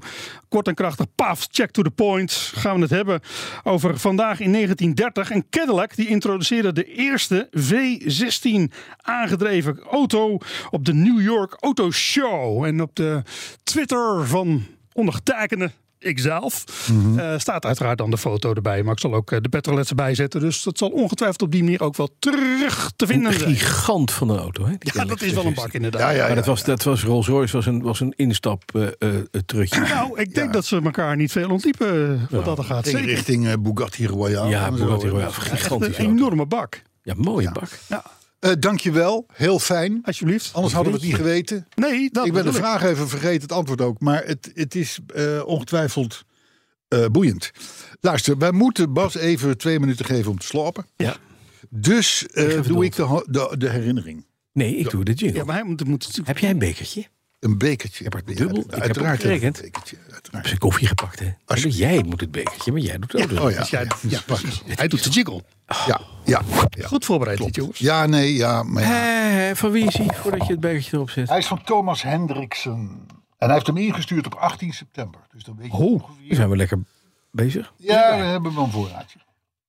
Kort en krachtig, paf, check to the point. Gaan we het hebben over vandaag in 1930. En Cadillac die introduceerde de eerste V16 aangedreven auto op de New York Auto Show. En op de Twitter van ondergetekende ikzelf, Mhm. eh, staat uiteraard dan de foto erbij. Maar ik zal ook eh, de petrolets erbij zetten. Dus dat zal ongetwijfeld op die manier ook wel terug te vinden zijn. Gigant van een auto, hè? die Nou, dus Ja, dat is wel een bak inderdaad. Ja, ja, Maar dat ja. was, dat was Rolls-Royce, was een, was een eh, instap-trutje. Nou, ik denk dat ze elkaar niet veel ontliepen eh, wat dat er gaat. Ging Zeker. richting eh, Bugatti Royale. ja, en zo. Bugatti Royale. Een Gigantisch. auto. enorme bak. Ja, mooie bak. Ja, Eh, dankjewel, heel fijn. alsjeblieft. Anders hadden we het niet geweten. Nee, dat Oh, Ik ben de bedoel vraag even vergeten, het antwoord ook. Maar het, het is eh, ongetwijfeld eh, boeiend. Luister, wij moeten Bas even twee minuten geven om te slapen. Ja. Dus eh, geef het doe ik de, ho- de, de herinnering. Nee, ik doe de jingle. Ja, maar hij moet, moet natuurlijk... Heb jij een bekertje? Een bekertje. Ja, dubbel. Ik heb uiteraard hem heb ik een gerekend. bekertje. Heb Uiteraard. ze koffie gepakt, hè? Als je- Jij moet het bekertje, maar jij doet het ook. dus. Oh ja. jij- ja, ja. pak. Hij doet de jiggle. ja, ja, ja. Goed voorbereid, dit, jongens. Ja, nee, ja, maar ja. Eh, van wie is hij voordat je het bekertje erop zet? Hij is van Thomas Hendriksen. En hij heeft hem ingestuurd op 18 september. Dus dan weet je Oh, ongeveer. dan zijn we lekker bezig. Ja, we hebben wel een voorraadje.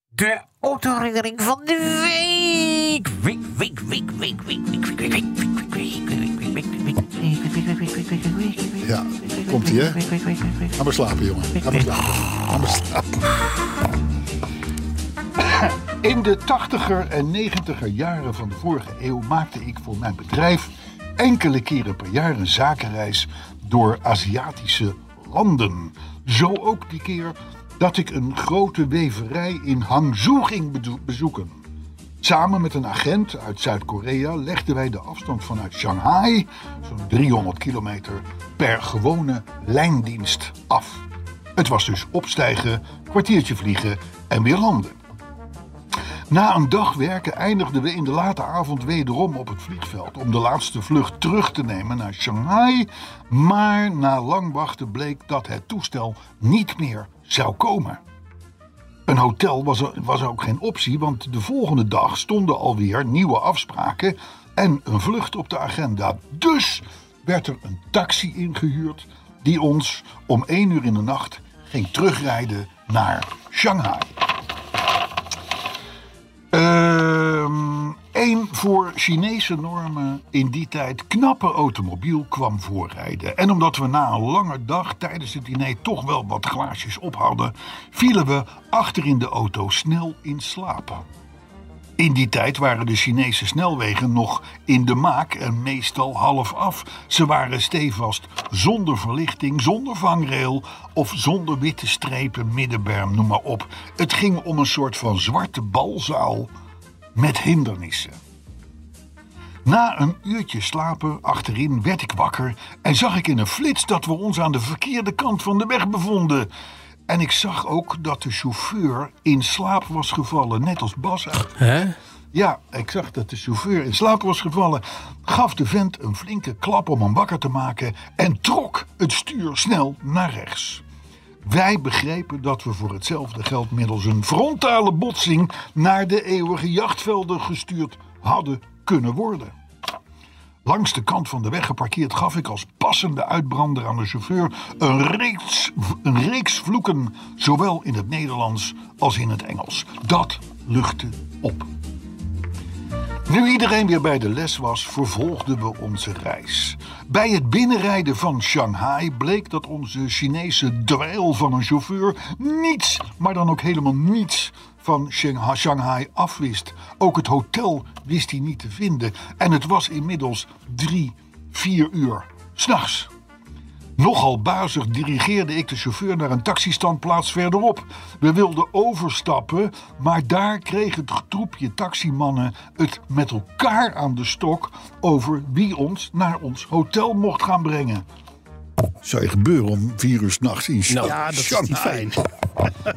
De autoherinnering van de week. Week, week, week, week, week, week, week, week, week, week, week, week, week, week, week, week. Ja, komt ie, hè? Ga maar slapen, jongen. Ga maar slapen. Ga maar slapen. In de 80er en 90er jaren van de vorige eeuw maakte ik voor mijn bedrijf enkele keren per jaar een zakenreis door Aziatische landen. Zo ook die keer dat ik een grote weverij in Hangzhou ging bedo- bezoeken. Samen met een agent uit Zuid-Korea legden wij de afstand vanuit Shanghai, zo'n 300 kilometer, per gewone lijndienst af. Het was dus opstijgen, kwartiertje vliegen en weer landen. Na een dag werken eindigden we in de late avond wederom op het vliegveld om de laatste vlucht terug te nemen naar Shanghai. Maar na lang wachten bleek dat het toestel niet meer zou komen. Een hotel was, er- was ook geen optie, want de volgende dag stonden alweer nieuwe afspraken en een vlucht op de agenda. Dus werd er een taxi ingehuurd die ons om 1 uur in de nacht ging terugrijden naar Shanghai. Ehm, een voor Chinese normen in die tijd knappe automobiel kwam voorrijden. En omdat we na een lange dag tijdens het diner toch wel wat glaasjes op hadden, vielen we achter in de auto snel in slaap. In die tijd waren de Chinese snelwegen nog in de maak en meestal half af. Ze waren stevast zonder verlichting, zonder vangrail of zonder witte strepen, middenberm, noem maar op. Het ging om een soort van zwarte balzaal met hindernissen. Na een uurtje slapen achterin werd ik wakker en zag ik in een flits dat we ons aan de verkeerde kant van de weg bevonden. En ik zag ook dat de chauffeur in slaap was gevallen, net als Bas uit. Hè? Ja, ik zag dat de chauffeur in slaap was gevallen, gaf de vent een flinke klap om hem wakker te maken en trok het stuur snel naar rechts. Wij begrepen dat we voor hetzelfde geld middels een frontale botsing naar de eeuwige jachtvelden gestuurd hadden kunnen worden. Langs de kant van de weg geparkeerd gaf ik als passende uitbrander aan de chauffeur een reeks, een reeks vloeken, zowel in het Nederlands als in het Engels. Dat luchtte op. Nu iedereen weer bij de les was, vervolgden we onze reis. Bij het binnenrijden van Shanghai bleek dat onze Chinese dweil van een chauffeur niets, maar dan ook helemaal niets van Shang- Shanghai afwist. Ook het hotel wist hij niet te vinden. En het was inmiddels drie, vier uur. S'nachts. Nogal bazig dirigeerde ik de chauffeur naar een taxistandplaats verderop. We wilden overstappen, maar daar kreeg het troepje taximannen het met elkaar aan de stok over wie ons naar ons hotel mocht gaan brengen. Zou je gebeuren om vier uur s'nachts in Shanghai? Nou, Ja, dat is niet fijn.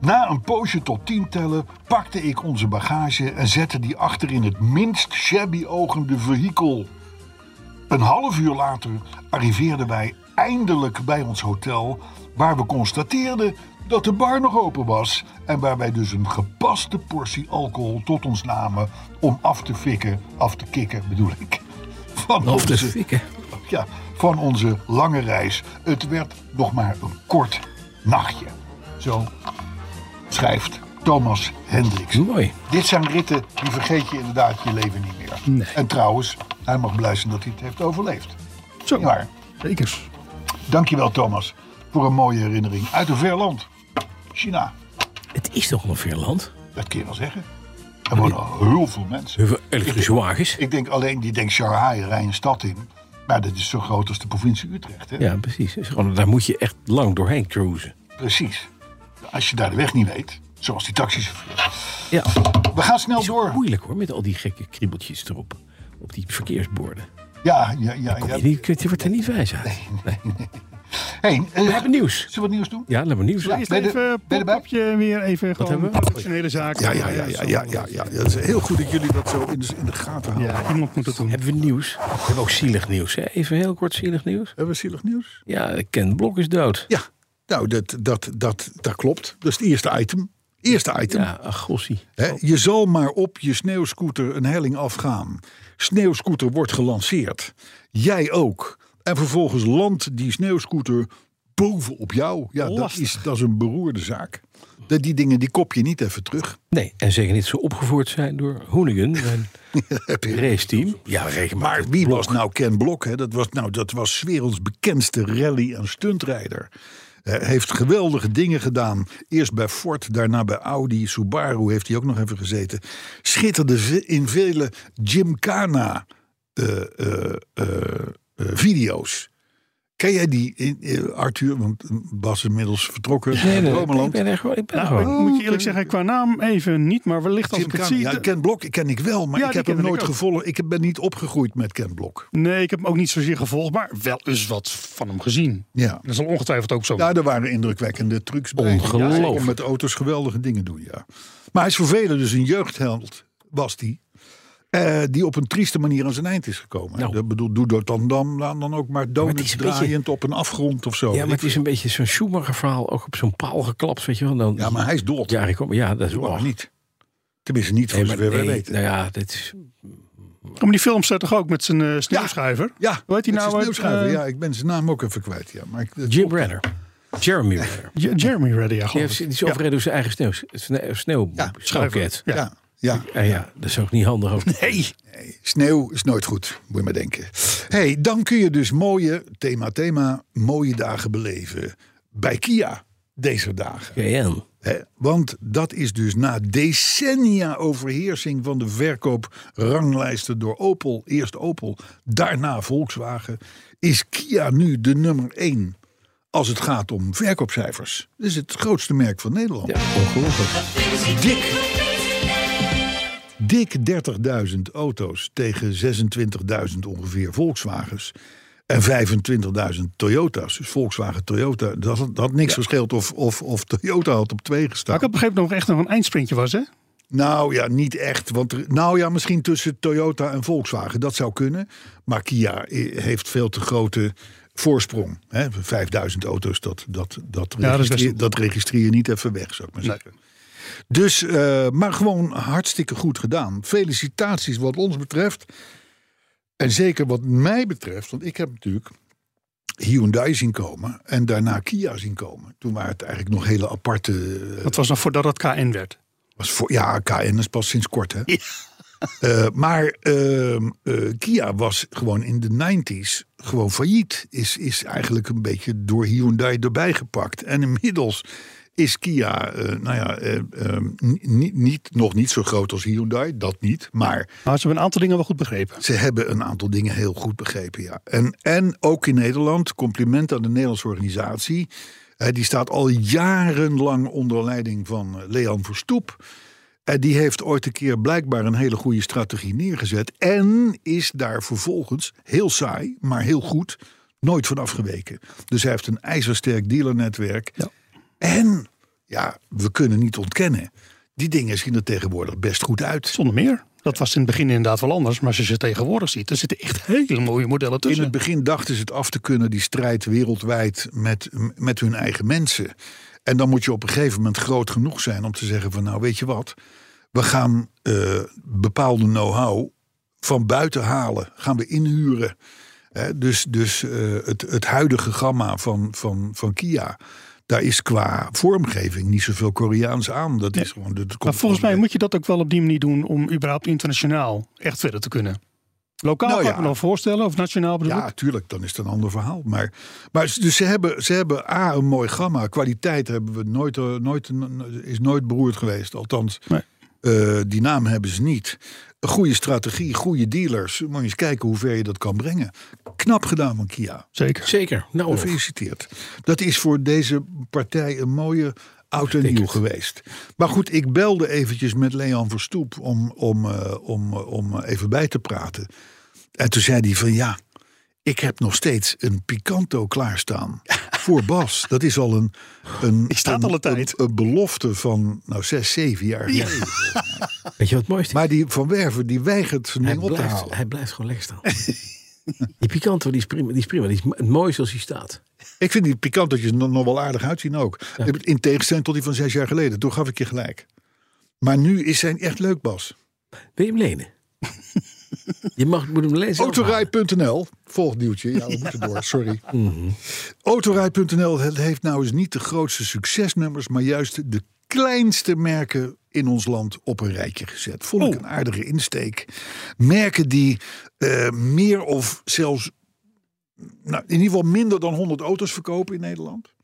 Na een poosje tot tien tellen pakte ik onze bagage en zette die achter in het minst shabby ogende vehikel. Een half uur later arriveerden wij eindelijk bij ons hotel, waar we constateerden dat de bar nog open was en waar wij dus een gepaste portie alcohol tot ons namen om af te fikken, af te kicken bedoel ik. Van Of te onze- fikken. ja, van onze lange reis. Het werd nog maar een kort nachtje. Zo schrijft Thomas Hendricks. Mooi. Dit zijn ritten die vergeet je inderdaad je leven niet meer. En trouwens, hij mag blij zijn dat hij het heeft overleefd. Zo, Maar zeker. dankjewel Thomas voor een mooie herinnering uit een ver land. China, Het is toch ongeveer land? dat kun je wel zeggen. Er wonen al heel veel mensen. Heel veel elektrische wagens. Ik denk alleen, die denkt Shanghai, rij een stad in. Maar dat is zo groot als de provincie Utrecht. Hè? Ja, precies. Is gewoon- Daar moet je echt lang doorheen cruisen. Precies. Als je daar de weg niet weet, zoals die taxichauffeur. Ja, We gaan snel door. moeilijk hoor, met al die gekke kriebeltjes erop. Op die verkeersborden. Ja, ja, ja. ja. Je, die- je wordt er niet wijs uit. Hey, eh, We hebben nieuws. zullen we wat nieuws doen? Ja, laten we nieuws. Eerst Ben je er- ben je even erbij? pop-upje weer even gewoon hebben we? professionele zaken. Ja, ja, ja, ja, ja, ja, ja. Dat is heel goed dat jullie dat zo in de, in de gaten houden. Ja, iemand moet het doen. Hebben we nieuws? We hebben ook zielig nieuws. Hè? Even heel kort zielig nieuws. Hebben we zielig nieuws? Ja, Ken Blok is dood. Ja, nou, dat, dat, dat, dat klopt. Dat is het eerste item. Eerste item. Ja, ach, gossie. Hè, je zal maar op je sneeuwscooter een helling afgaan. Sneeuwscooter wordt gelanceerd. Jij ook. En vervolgens landt die sneeuwscooter bovenop jou. Ja, dat Lastig. is, dat is een beroerde zaak. Dat die dingen, die kop je niet even terug. Nee, en zeker niet zo opgevoerd zijn door Hoenigan, zijn Heb je- raceteam. Ja, reken Maar wie was nou Ken Blok? Hè? Dat was nou, dat was 's werelds bekendste rally- en stuntrijder. Eh, heeft geweldige dingen gedaan. Eerst bij Ford, daarna bij Audi. Subaru heeft hij ook nog even gezeten. Schitterde ve- in vele Gymkhana eh, eh, eh, eh, video's. Ken jij die, eh, eh, Arthur? Want Bas is inmiddels vertrokken. Nee, nee, nee, ik Romeland. ben er gewoon. Ik ben er Nou, ik gewoon. moet je eerlijk zeggen, qua naam even niet, maar wellicht als ik het Gymkhana. zie. Ja, Ken Blok ken ik wel, maar Ja, ik die heb hem kende ik nooit ook. gevolgd. Ik ben niet opgegroeid met Ken Blok. Nee, ik heb hem ook niet zozeer gevolgd, maar wel eens wat van hem gezien. Ja. Dat zal ongetwijfeld ook zo. Ja, Nou, er waren indrukwekkende trucs bij. Ongelooflijk. Ja, kon met auto's geweldige dingen doen, ja. Maar hij is vervelend, dus een jeugdheld was die. eh, die op een trieste manier aan zijn eind is gekomen. Nou. Dat bedoel, doe dat dan, dan, dan ook maar het donuts is een beetje- draaiend op een afgrond of zo. Ja, maar het is een beetje zo'n Schumacher-verhaal. Ook op zo'n paal geklapt, weet je wel. Dan, Ja, maar hij is dood. Ja, ik kom, ja dat is Of wel niet. Tenminste, niet voor Nee, maar, zover wij nee, weten. nou ja, dit is, Maar die film staat toch ook met zijn eh sneeuwschuiver? Ja, Hoe heet die het is nou? sneeuwschuiver. Eh, ja, ik ben zijn naam ook even kwijt. Ja. Maar ik, Jim Renner. Jeremy Renner. J- Jeremy Reddy, ja, Die, geloof heeft, ik. die is overreden door zijn eigen sneeuw, sneeuw, sneeuw Ja, sneeuwket. Ja. ja, ja. Ja, ja, dat is ook niet handig. Ook. Nee. Sneeuw is nooit goed, moet je maar denken. hey, dan kun je dus mooie, thema, thema, mooie dagen beleven bij Kia deze dagen. KN. Hè? Want dat is dus na decennia overheersing van de verkoopranglijsten door Opel, eerst Opel, daarna Volkswagen, is Kia nu de nummer één als het gaat om verkoopcijfers. Dat is het grootste merk van Nederland. Ja, ongelooflijk. Dik. Dik 30.000 auto's tegen 26.000 ongeveer Volkswagens. En 25.000 Toyota's. Dus Volkswagen, Toyota. Dat had, dat had niks verschilt of, of, of Toyota had op twee Maar gestaan. ik had begrepen dat het nog echt nog een eindsprintje was, hè? Nou ja, niet echt. Want er- nou ja, misschien tussen Toyota en Volkswagen. Dat zou kunnen. Maar Kia eh, heeft veel te grote voorsprong. Hè? 5000 auto's, dat, dat, dat, Ja, dat is best registreer, wel- dat registreer je niet even weg, zou ik maar zeggen. Dus, eh, maar gewoon hartstikke goed gedaan. Felicitaties wat ons betreft. En zeker wat mij betreft, want ik heb natuurlijk Hyundai zien komen en daarna Kia zien komen. Toen waren het eigenlijk nog hele aparte. eh, Dat was nog voordat het KN werd. Was voor, ja, KN is pas sinds kort, hè? Eh, maar ehm, eh, Kia was gewoon in de 90s gewoon failliet. Is, is eigenlijk een beetje door Hyundai erbij gepakt. En inmiddels is Kia, eh, nou ja, eh, ehm, ni- ni- niet, nog niet zo groot als Hyundai, dat niet. Maar Maar ze hebben een aantal dingen wel goed begrepen. ze hebben een aantal dingen heel goed begrepen, ja. En, en ook in Nederland, compliment aan de Nederlandse organisatie. Eh, die staat al jarenlang onder leiding van eh, Leon Verstoep. En die heeft ooit een keer blijkbaar een hele goede strategie neergezet. En is daar vervolgens, heel saai, maar heel goed, nooit van afgeweken. Dus hij heeft een ijzersterk dealernetwerk. En, ja, we kunnen niet ontkennen... Die dingen zien er tegenwoordig best goed uit. Zonder meer. Dat was in het begin inderdaad wel anders. Maar als je ze tegenwoordig ziet, er zitten echt hele mooie modellen In tussen. het begin dachten ze het af te kunnen, die strijd wereldwijd met, met hun eigen mensen. En dan moet je op een gegeven moment groot genoeg zijn om te zeggen van nou weet je wat, we gaan eh, bepaalde know-how van buiten halen, gaan we inhuren. Hè, dus dus eh, het, het huidige gamma van, van, van Kia, daar is qua vormgeving niet zoveel Koreaans aan. Dat is gewoon, dat komt maar volgens mij gewoon- moet je dat ook wel op die manier doen om überhaupt internationaal echt verder te kunnen. Lokaal Nou kan ik ja. me nog voorstellen, of nationaal bedoel ik. Ja, tuurlijk, dan is het een ander verhaal. Maar, maar ze- dus ze, hebben, ze hebben A, een mooi gamma. Kwaliteit hebben we nooit, eh, nooit, n- is nooit beroerd geweest. Althans, Nee. eh, die naam hebben ze niet. Een goede strategie, goede dealers. Moet je eens kijken hoe ver je dat kan brengen. Knap gedaan van Kia. Zeker. Zeker. Nou, of- Gefeliciteerd. Dat is voor deze partij een mooie oud en nieuw geweest. Maar goed, ik belde eventjes met Leon Verstoep om, om, eh, om, eh, om eh, even bij te praten. En toen zei hij van ja, ik heb nog steeds een Picanto klaarstaan voor Bas. Dat is al een, een, Die staat een, al een tijd. een- een belofte van nou, zes, zeven jaar geleden. Weet je wat het mooiste is? Maar die Van Werven die weigert zijn Hij ding op te blijft, halen. hij blijft gewoon lekker staan. die Picanto, die is prima. Die is, prima. Die is m- mooi zoals hij staat. Ik vind die pikantotjes nog, nog wel aardig uitzien ook. In tegenstelling tot die van zes jaar geleden. Toen gaf ik je gelijk. Maar nu is zijn echt leuk, Bas. Wil je hem lenen? je mag, moet hem lezen. Autorij.nl. Volgend nieuwtje. Ja, we moeten door. Sorry. Autorij.nl he- heeft nou eens niet de grootste succesnummers... maar juist de kleinste merken in ons land op een rijtje gezet. Vond ik een aardige insteek. Merken die eh, meer of zelfs... Nou, in ieder geval minder dan 100 auto's verkopen in Nederland.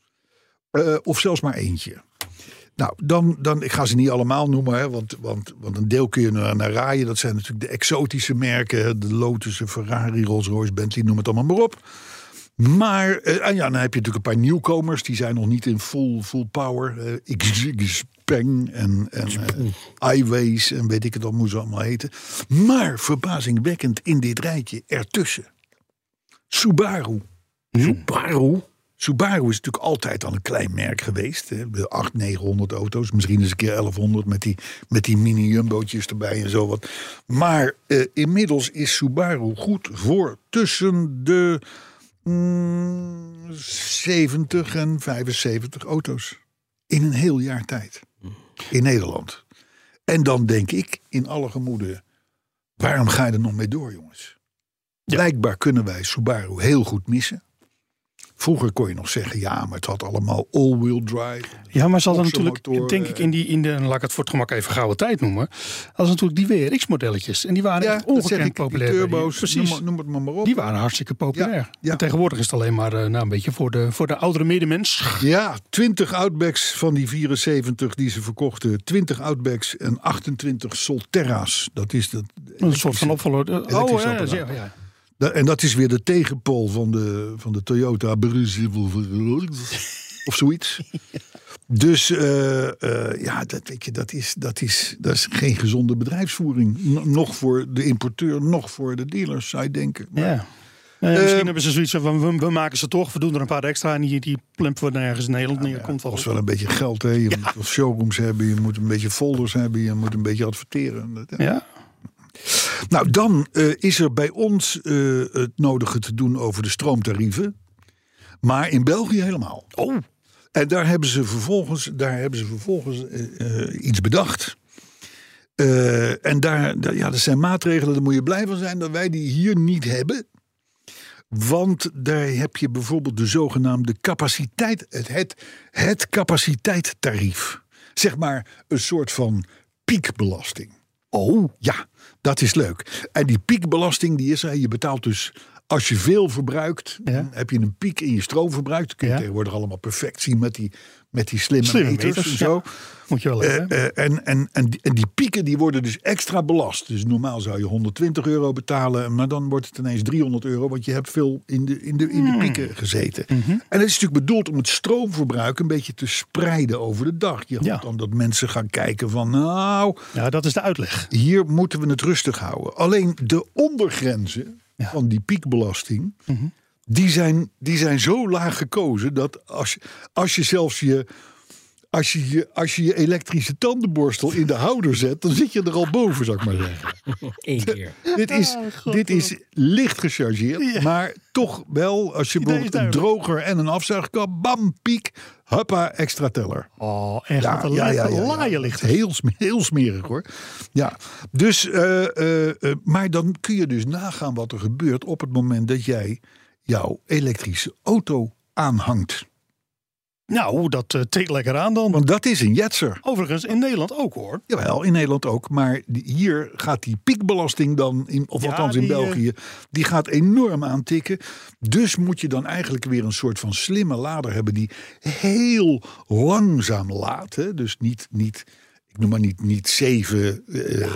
Eh, of zelfs maar eentje. Nou, dan, dan, ik ga ze niet allemaal noemen, hè, want, want, want een deel kun je naar, naar raaien. Dat zijn natuurlijk de exotische merken, hè, de Lotus, de Ferrari, Rolls-Royce, Bentley, noem het allemaal maar op. Maar, eh, en ja, dan heb je natuurlijk een paar nieuwkomers, die zijn nog niet in full, full power. Eh Xig, Speng en, en eh, iWays en weet ik het al, hoe ze allemaal heten. Maar verbazingwekkend in dit rijtje ertussen. Subaru. Hm? Subaru. Subaru is natuurlijk altijd al een klein merk geweest. Hè? 800, 900 auto's, misschien eens een keer 1100 met die, met die mini-jumbootjes erbij en zo wat. Maar eh, inmiddels is Subaru goed voor tussen de mm, 70 en 75 auto's. In een heel jaar tijd. In Nederland. En dan denk ik in alle gemoeden, waarom ga je er nog mee door jongens? Blijkbaar kunnen wij Subaru heel goed missen. Vroeger kon je nog zeggen, ja, maar het had allemaal all-wheel drive. Ja, maar ze hadden natuurlijk, Oxo-motor, denk ik, in die, in de, laat ik het voor het gemak even gouden tijd noemen. Als natuurlijk die WRX-modelletjes. En die waren Ja, echt dat zeg ongekend ik, die populair. bij die- turbo's, Precies. Noem, noem het maar, maar op. Die waren hartstikke populair. Ja, ja. En tegenwoordig is het alleen maar eh, nou, een beetje voor de, voor de oudere medemens. Ja, 20 Outbacks van die 74 die ze verkochten. 20 Outbacks en 28 Solterra's. Dat is dat. Een soort van opvolger. Oh, ja, apparaat. ja, ja. Da- En dat is weer de tegenpol van de, van de Toyota Brazil of zoiets. Dus eh, eh, ja, dat, weet je, dat, is, dat, is, dat is geen gezonde bedrijfsvoering. N- nog voor de importeur, nog voor de dealers, zou je denken. Maar Ja. Nou ja, misschien Ehm, hebben ze zoiets van, we, we maken ze toch, we doen er een paar extra en die, die plumpen we nergens in Nederland neer. komt wel kost goed. wel een beetje geld, hè. Je moet wel showrooms hebben, je moet een beetje folders hebben, je moet een beetje adverteren. Dat- Ja, Nou, dan eh, is er bij ons eh, het nodige te doen over de stroomtarieven. Maar in België helemaal. Oh. En daar hebben ze vervolgens, daar hebben ze vervolgens eh, eh, iets bedacht. Eh, en daar, daar- ja, dat zijn maatregelen, daar moet je blij van zijn dat wij die hier niet hebben. Want daar heb je bijvoorbeeld de zogenaamde capaciteit, het, het, het capaciteittarief. Zeg maar een soort van piekbelasting. Oh, ja, dat is leuk. En die piekbelasting die is er. Je betaalt dus als je veel verbruikt, Ja. dan heb je een piek in je stroomverbruik. Dat kun je Ja. tegenwoordig allemaal perfect zien met die, met die slimme, Slimme meters, meters, en zo. Moet je wel Eh, hebben. eh, en, en, en, die- en die pieken die worden dus extra belast. Dus normaal zou je 120 euro betalen, maar dan wordt het ineens 300 euro, want je hebt veel in de, in de, in de pieken gezeten. En het is natuurlijk bedoeld om het stroomverbruik een beetje te spreiden over de dag. Je hoopt Ja. dan dat mensen gaan kijken van, nou, ja, dat is de uitleg. hier moeten we het rustig houden. Alleen de ondergrenzen van die piekbelasting. Die zijn, die zijn zo laag gekozen dat als, je- als je zelfs je als, je je. als je je elektrische tandenborstel in de houder zet, dan zit je er al boven, zou ik maar zeggen. Eén keer. Dit is, dit is licht gechargeerd, maar toch wel, als je Idee is bijvoorbeeld een droger en een afzuigkap, bam, piek, huppa, extra teller. Oh, echt. wat een ja, laaien ligt er. Heel, sme- heel smerig hoor. Ja, dus, eh, eh, eh, maar dan kun je dus nagaan wat er gebeurt op het moment dat jij jouw elektrische auto aanhangt. Nou, dat eh, tikt lekker aan dan. Want dat is een jetser. Overigens, in Nederland ook hoor. Jawel, in Nederland ook. Maar die- hier gaat die piekbelasting dan, in, of Ja, althans in die, eh, België, die gaat enorm aantikken. Dus moet je dan eigenlijk weer een soort van slimme lader hebben die heel langzaam laat. Hè? Dus niet, niet, ik noem maar niet, niet 7 eh, eh,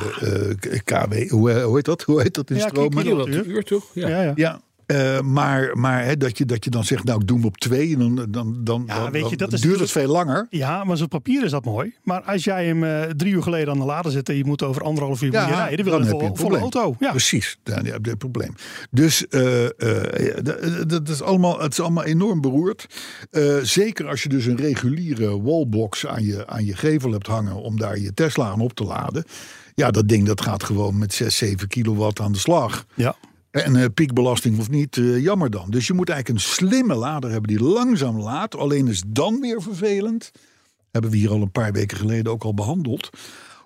k- kW, hoe, eh, hoe heet dat? Hoe heet dat in Ja, stromen? kilo- Kilowattuur, uur toch? Ja. Ja, ja. Ja. eh, maar maar hè, dat, je, dat je dan zegt, nou ik doe hem op twee en dan, dan, dan, dan, Ja, weet dan je, dat is duurt het natuurlijk- veel langer. Ja, maar zo'n papier is dat mooi. Maar als jij hem eh, drie uur geleden aan de lader zet en je moet over anderhalf uur meer rijden, dan wil je een volle auto. Ja. Precies, dan heb je een probleem. Dus eh, eh, ja, dat- dat is allemaal, het is allemaal enorm beroerd. Eh, zeker als je dus een reguliere wallbox aan je, aan je gevel hebt hangen om daar je Tesla aan op te laden. Ja, dat ding dat gaat gewoon met 6, 7 kilowatt aan de slag. ja. En eh, piekbelasting of niet, eh, jammer dan. Dus je moet eigenlijk een slimme lader hebben die langzaam laat. Alleen is dan weer vervelend. Hebben we hier al een paar weken geleden ook al behandeld.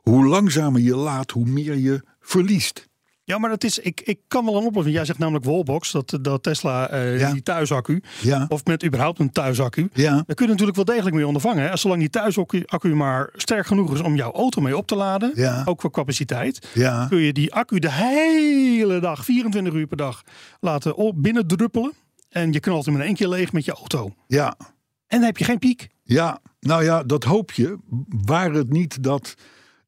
Hoe langzamer je laat, hoe meer je verliest. Ja, maar dat is, ik, ik kan wel een oplossing. Jij zegt namelijk wallbox, dat, dat Tesla, eh, Ja. die thuisaccu. Ja. Of met überhaupt een thuisaccu. Ja, Daar kun je natuurlijk wel degelijk mee ondervangen. Hè? Zolang die thuisaccu accu maar sterk genoeg is om jouw auto mee op te laden. Ja. Ook qua capaciteit. ja, Kun je die accu de hele dag, 24 uur per dag, laten op- binnendruppelen. En je knalt hem in één keer leeg met je auto. ja, En dan heb je geen piek. ja. Nou ja, dat hoop je. Waar het niet dat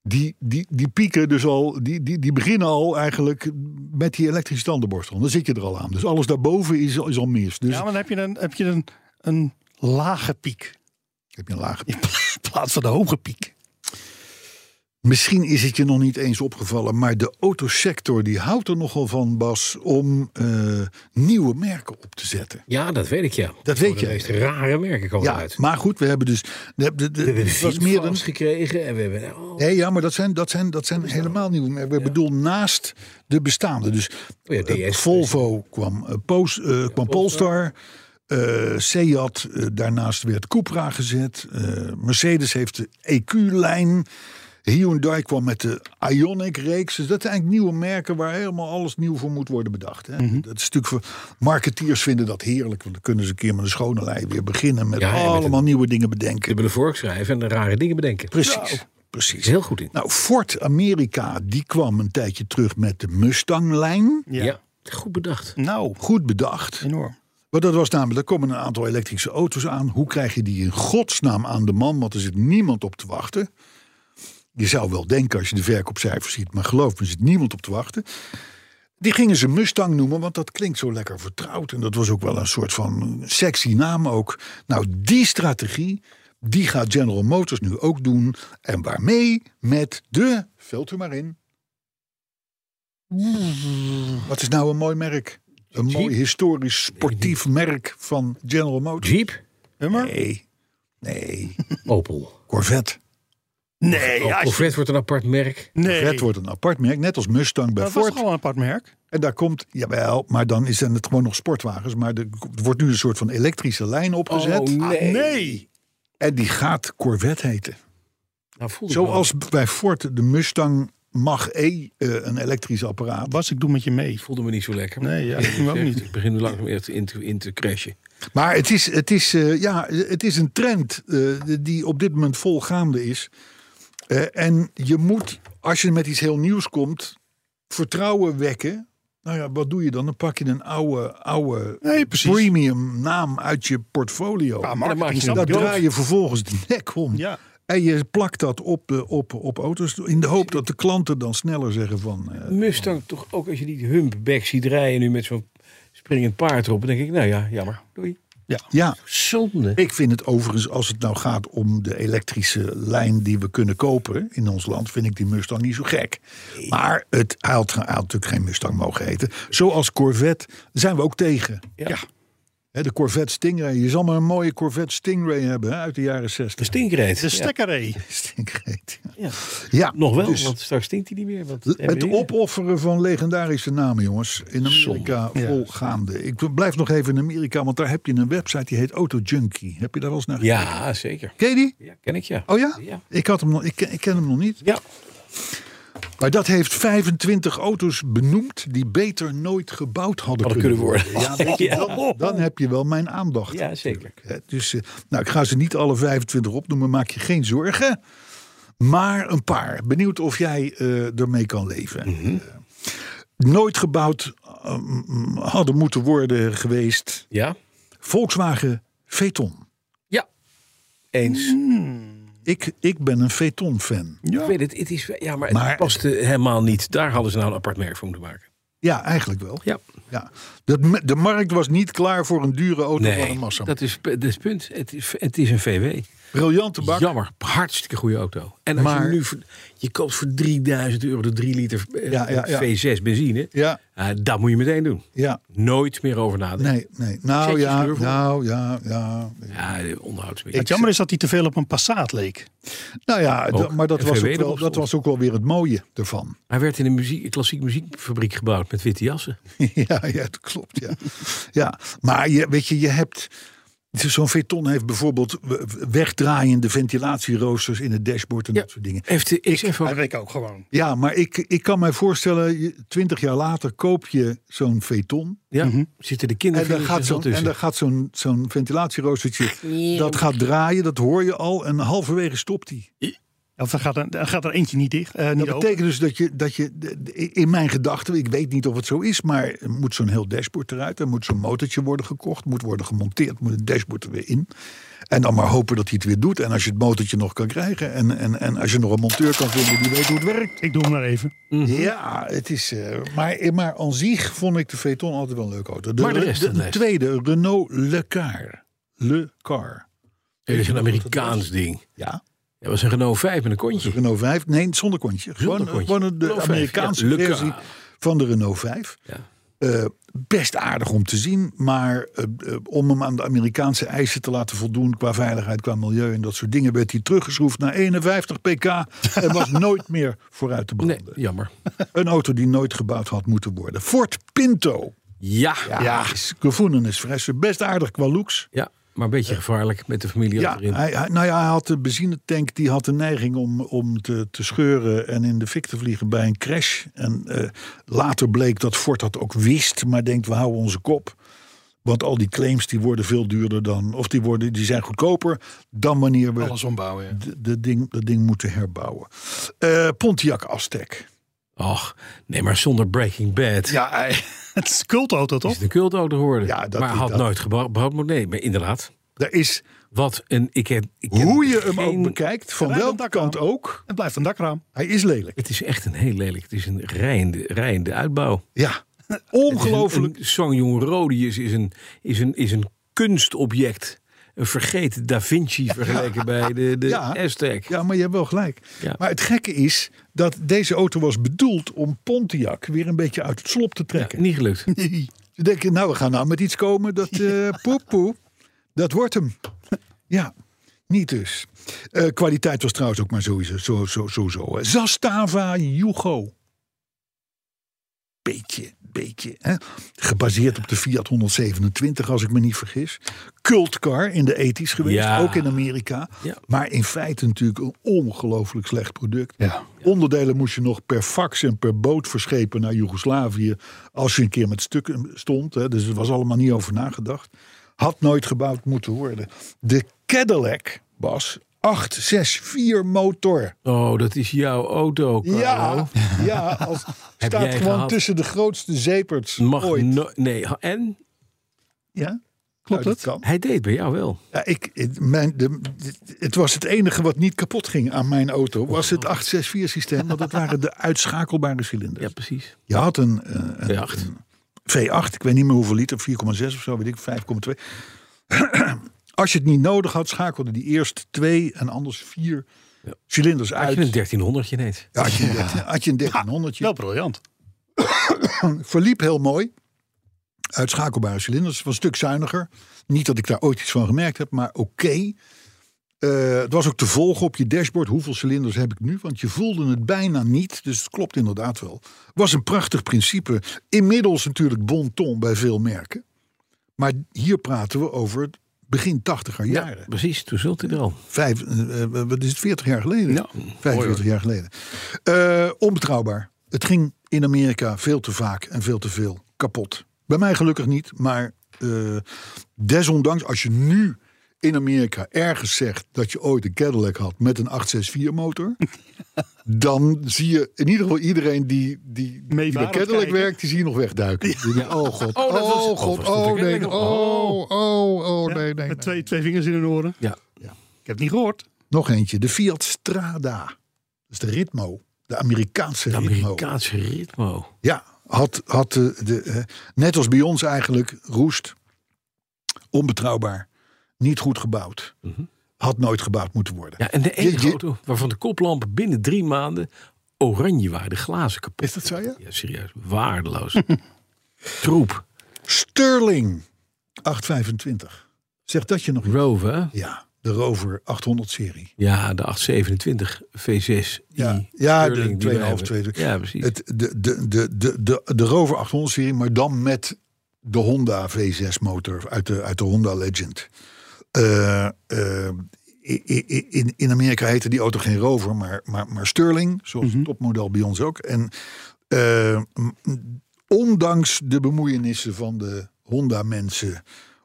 die, die, die pieken dus al, die, die, die beginnen al eigenlijk met die elektrische tandenborstel. Dan zit je er al aan. Dus alles daarboven is, is al mis. Dus Ja, maar dan heb je een, heb je een, een lage piek. heb je een lage In plaats van de hoge piek. Misschien is het je nog niet eens opgevallen, maar de autosector die houdt er nogal van, Bas, om eh, nieuwe merken op te zetten. Ja, dat weet ik ja. Dat weet Voor je. De meest rare merken komen Ja, eruit. maar goed, we hebben dus. We hebben, de, de, We hebben het was meer dan, Fitfast gekregen en we hebben... Oh, nee, ja, maar dat zijn, dat zijn, dat zijn helemaal nieuwe merken. Ik bedoel, naast de bestaande. Dus Oh ja, eh, DS. Volvo kwam, eh, Post, eh, kwam Polestar. eh, Seat, eh, daarnaast werd Cupra gezet. eh, Mercedes heeft de EQ-lijn. Hyundai kwam met de Ionic-reeks. Dus dat zijn eigenlijk nieuwe merken waar helemaal alles nieuw voor moet worden bedacht. Hè? Mhm. Dat is natuurlijk voor marketeers vinden dat heerlijk. Want dan kunnen ze een keer met een schone lei weer beginnen met Ja, en met allemaal het- nieuwe dingen De bedenken. willen voorschrijven en rare dingen bedenken. Precies. Nou, Precies. is heel goed in. Nou, Ford Amerika, die kwam een tijdje terug met de Mustang-lijn. Ja. goed bedacht. Nou, Goed bedacht. enorm. Maar dat was namelijk, er komen een aantal elektrische auto's aan. Hoe krijg je die in godsnaam aan de man? Want er zit niemand op te wachten. Je zou wel denken als je de verkoopcijfers ziet, maar geloof me, er zit niemand op te wachten. Die gingen ze Mustang noemen, want dat klinkt zo lekker vertrouwd. En dat was ook wel een soort van sexy naam ook. Nou, die strategie, die gaat General Motors nu ook doen. En waarmee? Met de, vult u maar in. Wat is nou een mooi merk? Een mooi historisch sportief merk van General Motors. Jeep, Hummer? Nee, nee, Opel. Corvette. Nee. ja, als je- Corvette wordt een apart merk. nee. Corvette wordt een apart merk, net als Mustang bij dat was Ford. toch al een apart merk? En daar komt, jawel, maar dan zijn het gewoon nog sportwagens. Maar er wordt nu een soort van elektrische lijn opgezet. Ah, nee. Nee. En die gaat Corvette heten. Nou, voel ik Zoals bij Ford de Mustang Mach E eh, een elektrisch apparaat. Bas, ik doe met je mee. me, voelde me niet zo lekker. Nee, ja, ik doe ook niet. Ik begin nu langzaam echt in te, in te crashen. Maar het is, het is, eh, ja, het is een trend eh, die op dit moment volgaande is. Eh, en je moet, als je met iets heel nieuws komt, vertrouwen wekken. Nou ja, wat doe je dan? Dan pak je een oude, oude Nee, precies. premium naam uit je portfolio. Ja, dan maak je een Daar snap ik draai je vervolgens de nek om. Ja. En je plakt dat op, de, op, op auto's. In de hoop dat de klanten dan sneller zeggen van... eh, Mustang toch ook als je die humpback ziet rijden nu met zo'n springend paard erop. Dan denk ik, nou ja, jammer. Doei. ja, Zonde. ik vind het overigens, als het nou gaat om de elektrische lijn die we kunnen kopen in ons land, vind ik die Mustang niet zo gek. Maar het hij had, hij had natuurlijk geen Mustang mogen heten. Zoals Corvette zijn we ook tegen. Ja. Hè, de Corvette Stingray. Je zal maar een mooie Corvette Stingray hebben hè, uit de jaren De 60. stinkreet. De stekkeré. Stingray. Ja. Ja, Nog wel, dus- want straks stinkt hij niet meer. Want Het opofferen van legendarische namen, jongens. In Amerika volgaande. Ik blijf nog even in Amerika, want daar heb je een website die heet AutoJunkie. Heb je daar wel eens naar gekeken? Ja, zeker. Ken je die? Ja, ken ik ja. Oh ja? Ja. Ik, had hem nog, ik, ken- ik ken hem nog niet. Ja. Maar dat heeft 25 auto's benoemd die beter nooit gebouwd hadden, Hadden kunnen worden. Ja, weet je, Ja. Dan, dan heb je wel mijn aandacht. Ja, zeker. Hè, Dus eh, nou, ik ga ze niet alle 25 opnoemen, maak je geen zorgen. Maar een paar. Benieuwd of jij eh, ermee kan leven. Mhm. Eh, nooit gebouwd ehm, hadden moeten worden geweest. Ja. Volkswagen Phaeton. Ja. Eens. Ik, ik ben een Phaeton-fan. Ik weet het, het is, ja, maar het Maar- paste helemaal niet. Daar hadden ze nou een apart merk voor moeten maken. Ja, eigenlijk wel. Ja. Ja. Dat, me- de markt was niet klaar voor een dure auto van een Nee, massa. dat is, dat is het punt. Het is, het is een VW. Briljante bak. Jammer, hartstikke goede auto. En als Maar- je nu voor- je koopt voor 3000 euro de 3 liter eh, Ja, ja, ja. V6 benzine, Ja, eh, dat moet je meteen doen. ja. Nooit meer over nadenken. Nee, nee. Zet Nou je ja, sleur voor. nou ja, ja. Ja, de onderhoud. Het jammer is dat hij te veel op een Passat leek. Nou ja, Ook. d- maar dat En was, VW ook wel, erop dat was ook wel weer het mooie ervan. Hij werd in een, muziek, een klassiek muziekfabriek gebouwd met witte jassen. ja, ja, dat klopt. Ja. ja. Maar je, weet je, je hebt. Zo'n Veton heeft bijvoorbeeld w- w- wegdraaiende ventilatieroosters in het dashboard en dat soort dingen. Heeft de XF eh, ook. Dat weet ik ook gewoon. Ja, maar ik, ik kan mij voorstellen, twintig jaar later koop je zo'n Veton. Ja, zitten de mhm. En kinderen daar gaat zo'n en daar gaat zo'n zo'n ventilatieroostertje, dat gaat draaien, dat hoor je al en halverwege stopt die. Of dan gaat er, dan gaat er eentje niet dicht. eh, niet Dat open. betekent dus dat je, dat je de- de- in mijn gedachten, ik weet niet of het zo is, maar er moet zo'n heel dashboard eruit, er moet zo'n motortje worden gekocht, moet worden gemonteerd, moet het dashboard er weer in. En dan maar hopen dat hij het weer doet. En als je het motortje nog kan krijgen en, en, en als je nog een monteur kan vinden die weet hoe het werkt. Ik doe hem maar even. Mhm. Ja, het is. eh, maar, maar aan zich vond ik de Veton altijd wel een leuke auto. De, Maar de rest de, dan de niet. tweede, Renault Le Car. Le Car. Dat is een Amerikaans ding. Ja. Dat was een Renault 5 met een kontje. Renault 5. Nee, zonder kontje. Gewoon, kontje. gewoon de Renault 5, Amerikaanse ja. Le Car. versie van de Renault 5. Ja. Eh, best aardig om te zien, maar eh, eh, om hem aan de Amerikaanse eisen te laten voldoen qua veiligheid, qua milieu en dat soort dingen, werd hij teruggeschroefd naar 51 pk en was nooit meer vooruit te Nee, branden. jammer. Een auto die nooit gebouwd had moeten worden. Ford Pinto. Ja. Ja. is gevoelens fressen. Best aardig qua looks. maar een beetje gevaarlijk met de familie Ja, achterin. hij, hij- nou ja, hij had de benzinetank die had de neiging om, om te, te scheuren en in de fik te vliegen bij een crash. En eh, later bleek dat Ford dat ook wist, maar denkt we houden onze kop. Want al die claims die worden veel duurder dan, of die, worden, die zijn goedkoper dan wanneer we Alles ombouwen. ja. de, de ding, dat ding moeten herbouwen. Eh, Pontiac Aztec. Och, nee, maar zonder Breaking Bad. Ja, hij- het is cultauto Is toch? het een cultauto geworden? Ja, dat- maar had dat- nooit gebouwd gebouwd moeten. Nee, maar inderdaad. Daar is, Wat een. Ik heb, ik ken hoe je hem ook geen- bekijkt, van Rijd welke dat kant aan. ook, Het blijft een dakraam. hij is lelijk. Het is echt een heel lelijk. Het is een rijende, rijende uitbouw. Ja, ongelooflijk. Een- een Sangyong Rodius is een, is, een, is een kunstobject. Een vergeten Da Vinci vergeleken bij de, de Ja. Aztec. Ja, maar je hebt wel gelijk. Ja. Maar het gekke is dat deze auto was bedoeld om Pontiac weer een beetje uit het slop te trekken. Niet gelukt. Ze denken, nou, we gaan nou met iets komen dat eh poep, poep, dat wordt hem. Ja, niet dus. Eh, kwaliteit was trouwens ook maar sowieso. Zo, zo, zo, zo, hè. Zastava Jugo. Beetje, beetje. Hè? Gebaseerd op de Fiat 127, als ik me niet vergis. Cultcar in de ethisch geweest, Ja. ook in Amerika. Ja. Maar in feite natuurlijk een ongelooflijk slecht product. Ja. Onderdelen moest je nog per fax en per boot verschepen naar Joegoslavië. Als je een keer met stukken stond. Hè, dus er was allemaal niet over nagedacht. Had nooit gebouwd moeten worden. De Cadillac was 864 motor. Oh, dat is jouw auto, Carlo. Ja, ja als, staat jij gewoon gehad? tussen de grootste zeeperts Mag ooit. no- nee, ha- en Ja, klopt dat? kan. hij deed bij jou wel. Ja, ik, het- mijn, de, dit- het was het enige wat niet kapot ging aan mijn auto. Was het 864 systeem, want dat waren de uitschakelbare cilinders. Ja, precies. Je had een, eh, een Ja, acht. V8, ik weet niet meer hoeveel liter, 4,6 of zo, weet ik, 5,2. Als je het niet nodig had, schakelde die eerst twee en anders vier cilinders Had je een uit. 1300 je net. Ja, Had je een, dertien- had je een 1300. Wel briljant. verliep heel mooi. Uitschakelbare cilinders. Was een stuk zuiniger. Niet dat ik daar ooit iets van gemerkt heb, maar oké. Eh, het was ook te volgen op je dashboard. Hoeveel cilinders heb ik nu? Want je voelde het bijna niet. Dus het klopt inderdaad wel. Was een prachtig principe. Inmiddels natuurlijk bon ton bij veel merken. Maar hier praten we over het begin tachtiger jaren. Precies, toen zult hij er al. Vijf, eh, eh, wat is het, 40 jaar geleden? Ja, 45 jaar geleden. Eh, onbetrouwbaar. Het ging in Amerika veel te vaak en veel te veel kapot. Bij mij gelukkig niet, maar eh, desondanks, als je nu in Amerika ergens zegt dat je ooit een Cadillac had met een 864 motor, dan zie je in ieder geval iedereen die, die, Mee die bij waar Cadillac kijken. werkt, die zie je nog wegduiken. Die denken, Oh god, Oh, oh, dat was- oh, god, stond oh de nee, Cadillac oh, nog. oh, oh, Ja, nee, nee. met nee. twee, twee vingers in hun oren. Ja. Ik heb het niet gehoord. Nog eentje, de Fiat Strada. Dat is de Ritmo, de Amerikaanse Het Ritmo. Amerikaanse ritmo. Ja, had, had de, de, eh, net als bij ons eigenlijk, roest. Onbetrouwbaar. Niet goed gebouwd. Had nooit gebouwd moeten worden. Ja, en de enige je- auto waarvan de koplampen binnen drie maanden oranje waren. De glazen kapot. Is dat zo, ja? Ja, serieus. Waardeloos. Troep. Sterling 825. Zeg dat je nog iets? Rover. hè? Ja, de Rover 800 serie. Ja, de 827 V6. Ja, ja Sterling, die de 2,5, we tweede. hebben. Ja, precies. Het, de, de, de, de, de, de Rover 800 serie, maar dan met de Honda V6 motor uit de, uit de Honda Legend. Eh, eh, i- i- in, in Amerika heette die auto geen Rover, maar, maar, maar Sterling, zoals het topmodel bij ons ook. En eh, m- m- ondanks de bemoeienissen van de Honda-mensen,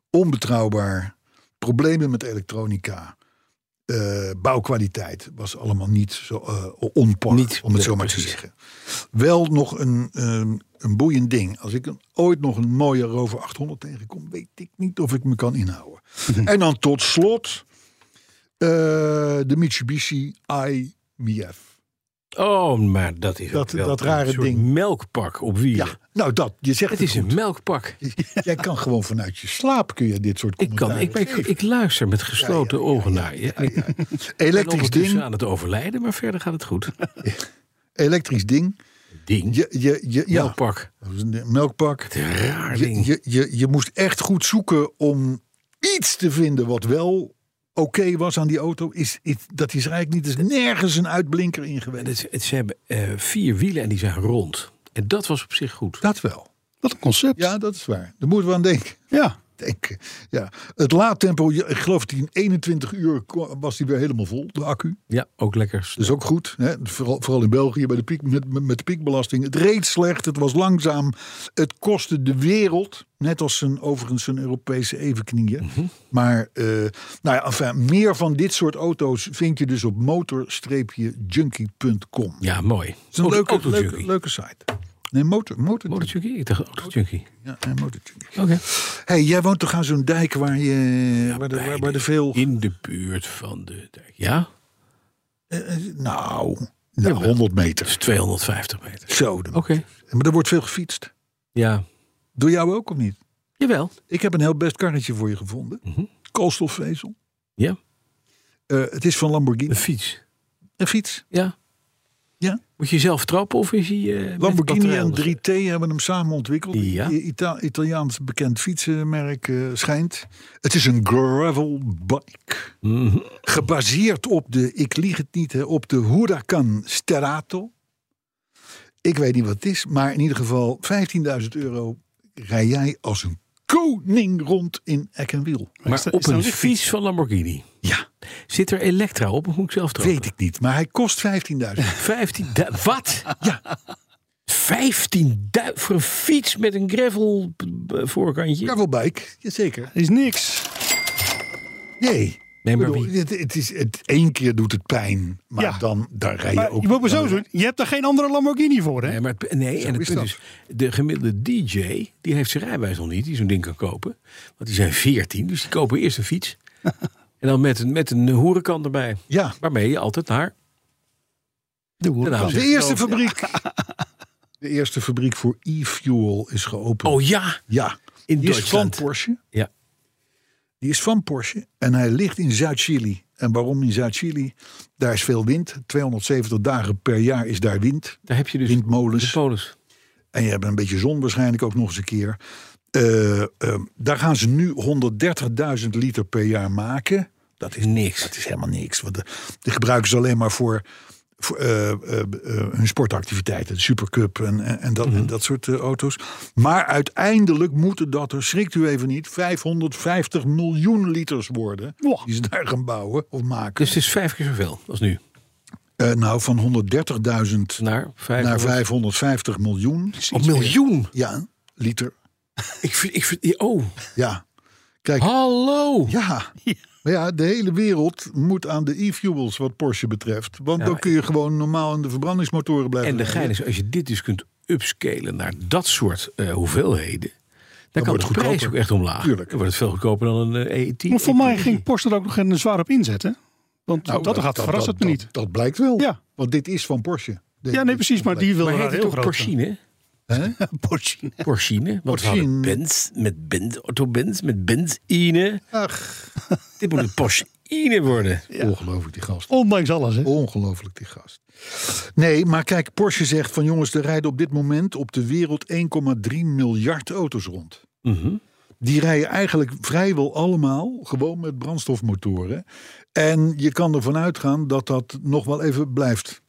onbetrouwbaar, problemen met elektronica. eh, bouwkwaliteit was allemaal niet zo eh on par, Niet, om het nee, zo maar te precies. zeggen wel nog een, ehm, een boeiend ding. Als ik een- ooit nog een mooie Rover 800 tegenkom, weet ik niet of ik me kan inhouden. Mhm. en dan tot slot eh, de Mitsubishi IMF. Oh, maar dat is Dat- ook wel dat een rare soort ding. melkpak op wielen. Ja, nou dat, je zegt het het, is goed. een melkpak. Jij kan gewoon vanuit je slaap kun je dit soort Ik, kan, commentaren ik, ik, geven. ik luister met gesloten ogen naar je. En ik ben Elektrisch ondertussen ding, aan het overlijden, maar verder gaat het goed. elektrisch ding. Ding. Je, je, je, ja, Melkpak. dat is een melkpak. Raar Je, ding. je, je, je moest echt goed zoeken om iets te vinden wat wel oké was aan die auto. Is, is, dat is er eigenlijk niet. Er is nergens een uitblinker in En geweest. het, het- ze hebben eh, vier wielen en die zijn rond. En dat was op zich goed. Dat wel. Wat een concept. Ja, dat is waar. Daar moeten we aan denken. Ja. denken. Ja. Het laadtempo, je- ik geloof dat die in 21 uur ko- was die weer helemaal vol, de accu. Ja, ook lekker. Dat is ook goed. Hè? Vooral, vooral in België bij de piek, met, met de piekbelasting. Het reed slecht, het was langzaam. Het kostte de wereld. Net als zijn, overigens zijn Europese evenknieën. Maar eh, nou ja, enfin, meer van dit soort auto's vind je dus op motor-junkie.com. Het Ja, mooi. is een Auto- leuke, Oh, autojunkie. leuke, leuke site. Nee, motor, motor, Motorjunkie? Ik dacht autojunkie. Ja, nee, motorjunkie. Oké. hey, jij woont toch aan zo'n dijk waar, je, waar, de, waar, waar de veel... In de buurt van de... dijk. Ja? eh, nou, nou, 100 Dat meter. is 250 meter. Zo, dan- Oké. maar er wordt veel gefietst. Ja. Door jou ook of niet? Jawel. Ik heb een heel best karretje voor je gevonden. Koolstofvezel. Mhm. Ja. Eh, het is van Een Lamborghini. fiets. Een fiets. Ja. Ja. Moet je zelf trappen of is hij... eh, met Lamborghini batterij en anders? 3T hebben hem samen ontwikkeld. Ja. I- Ita- Italiaans bekend fietsenmerk eh, schijnt. Het is een gravel bike. Mhm. Gebaseerd op de, ik lieg het niet, hè, op de Huracan Sterato. Ik weet niet wat het is, maar in ieder geval 15.000 euro rij jij als een koning rond in Eck en Wiel. Maar Is dat- op is dat een een fiets van Lamborghini. Ja, Zit er elektra op of moet ik zelf trappen? weet ik niet, maar hij kost 15.000. 15 du- Wat? Ja. 15 du- voor een fiets met een gravel eh, voorkantje. Gravelbike, jazeker. Is niks. Nee, Nee, maar bedoel, wie? het, het is, het, één keer doet het pijn, maar Ja. dan daar rij je Maar ook... je moet maar zo dan- doen. Je hebt er geen andere Lamborghini voor, hè? Nee, maar het, nee en het is punt dat. is, de gemiddelde DJ, die heeft zijn rijbewijs nog niet, die zo'n ding kan kopen. Want die zijn 14, dus die kopen eerst een fiets. en dan met een, met een hoerenkant erbij. Ja, Waarmee je altijd naar... De Oh, Den Haag de zegt. eerste fabriek. De eerste fabriek voor e-fuel is geopend. Oh ja, ja, in die is van Duitsland. Porsche. Ja. Die is van Porsche en hij ligt in Zuid-Chili. En waarom in Zuid-Chili? Daar is veel wind. 270 dagen per jaar is daar wind. Daar heb je dus Windmolens. de Polens. En je hebt een beetje zon waarschijnlijk ook nog eens een keer. Eh, ehm, daar gaan ze nu 130.000 liter per jaar maken. Dat is Niks. Dat is helemaal niks. Want de- die gebruiken ze alleen maar voor, voor, eh, eh, eh, hun sportactiviteiten. De Supercup en, en, en dat, Mhm. en dat soort eh, auto's. Maar uiteindelijk moeten dat er, schrikt u even niet, 550 miljoen liters worden. Wow. Die ze daar gaan bouwen of maken. Dus het is vijf keer zoveel als nu. Eh, nou, van 130.000 Naar vijf. naar 550 miljoen. Oh, miljoen! Ja, liter. Ik, vind- ik, vind- oh, Ja. Kijk, hallo! ja. Maar ja, de hele wereld moet aan de e-fuels wat Porsche betreft. Want Ja, dan maar- kun je gewoon normaal aan de verbrandingsmotoren blijven. En de gein rijden. is, als je dit dus kunt upscalen naar dat soort eh, hoeveelheden... Dan, kan wordt de het prijs goedkoper. ook echt omlaag. Tuurlijk. Dan wordt het veel goedkoper dan een eh, ET. Maar voor mij ging Porsche er ook nog een zwaar op inzetten. Want Nou, dat, gaat, verrast het me dat- niet. Dat, dat blijkt wel. Ja. Want dit is van Porsche. Dit- ja, nee, dit precies. is Maar die wil Maar er heet heel het ook groot. Porsche? compleet. Hè? Porsche. Porsche, want we hadden Porsche. Benz met Benz, Otto Benz met Benzine. Ach, Dit moet een Porsche worden. ongelooflijk die gast. Ondanks alles, hè? Ongelooflijk die gast. Nee, maar kijk, Porsche zegt van jongens, er rijden op dit moment op de wereld 1,3 miljard auto's rond. Mhm. Die rijden eigenlijk vrijwel allemaal gewoon met brandstofmotoren. En je kan ervan uitgaan dat dat nog wel even blijft.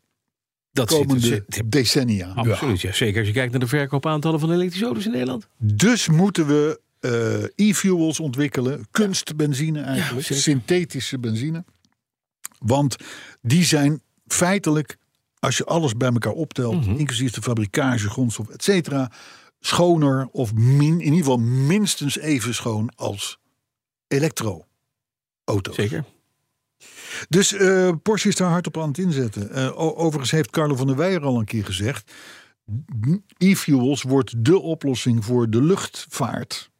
Dat De zit er- komende zit er- decennia. Ah, Absoluut, ja. Zeker als je kijkt naar de verkoopaantallen van elektrische auto's in Nederland. Dus moeten we eh, e-fuels ontwikkelen. Kunstbenzine eigenlijk. zeker. synthetische benzine. Want die zijn feitelijk, als je alles bij elkaar optelt... Mhm. inclusief de fabrikage, grondstof, et cetera... schoner of min, in ieder geval minstens even schoon als elektro-auto's. Zeker. Dus eh, Porsche is daar hard op aan het inzetten. Eh, o- overigens heeft Carlo van der Weijer al een keer gezegd... e-fuels wordt de oplossing voor de luchtvaart.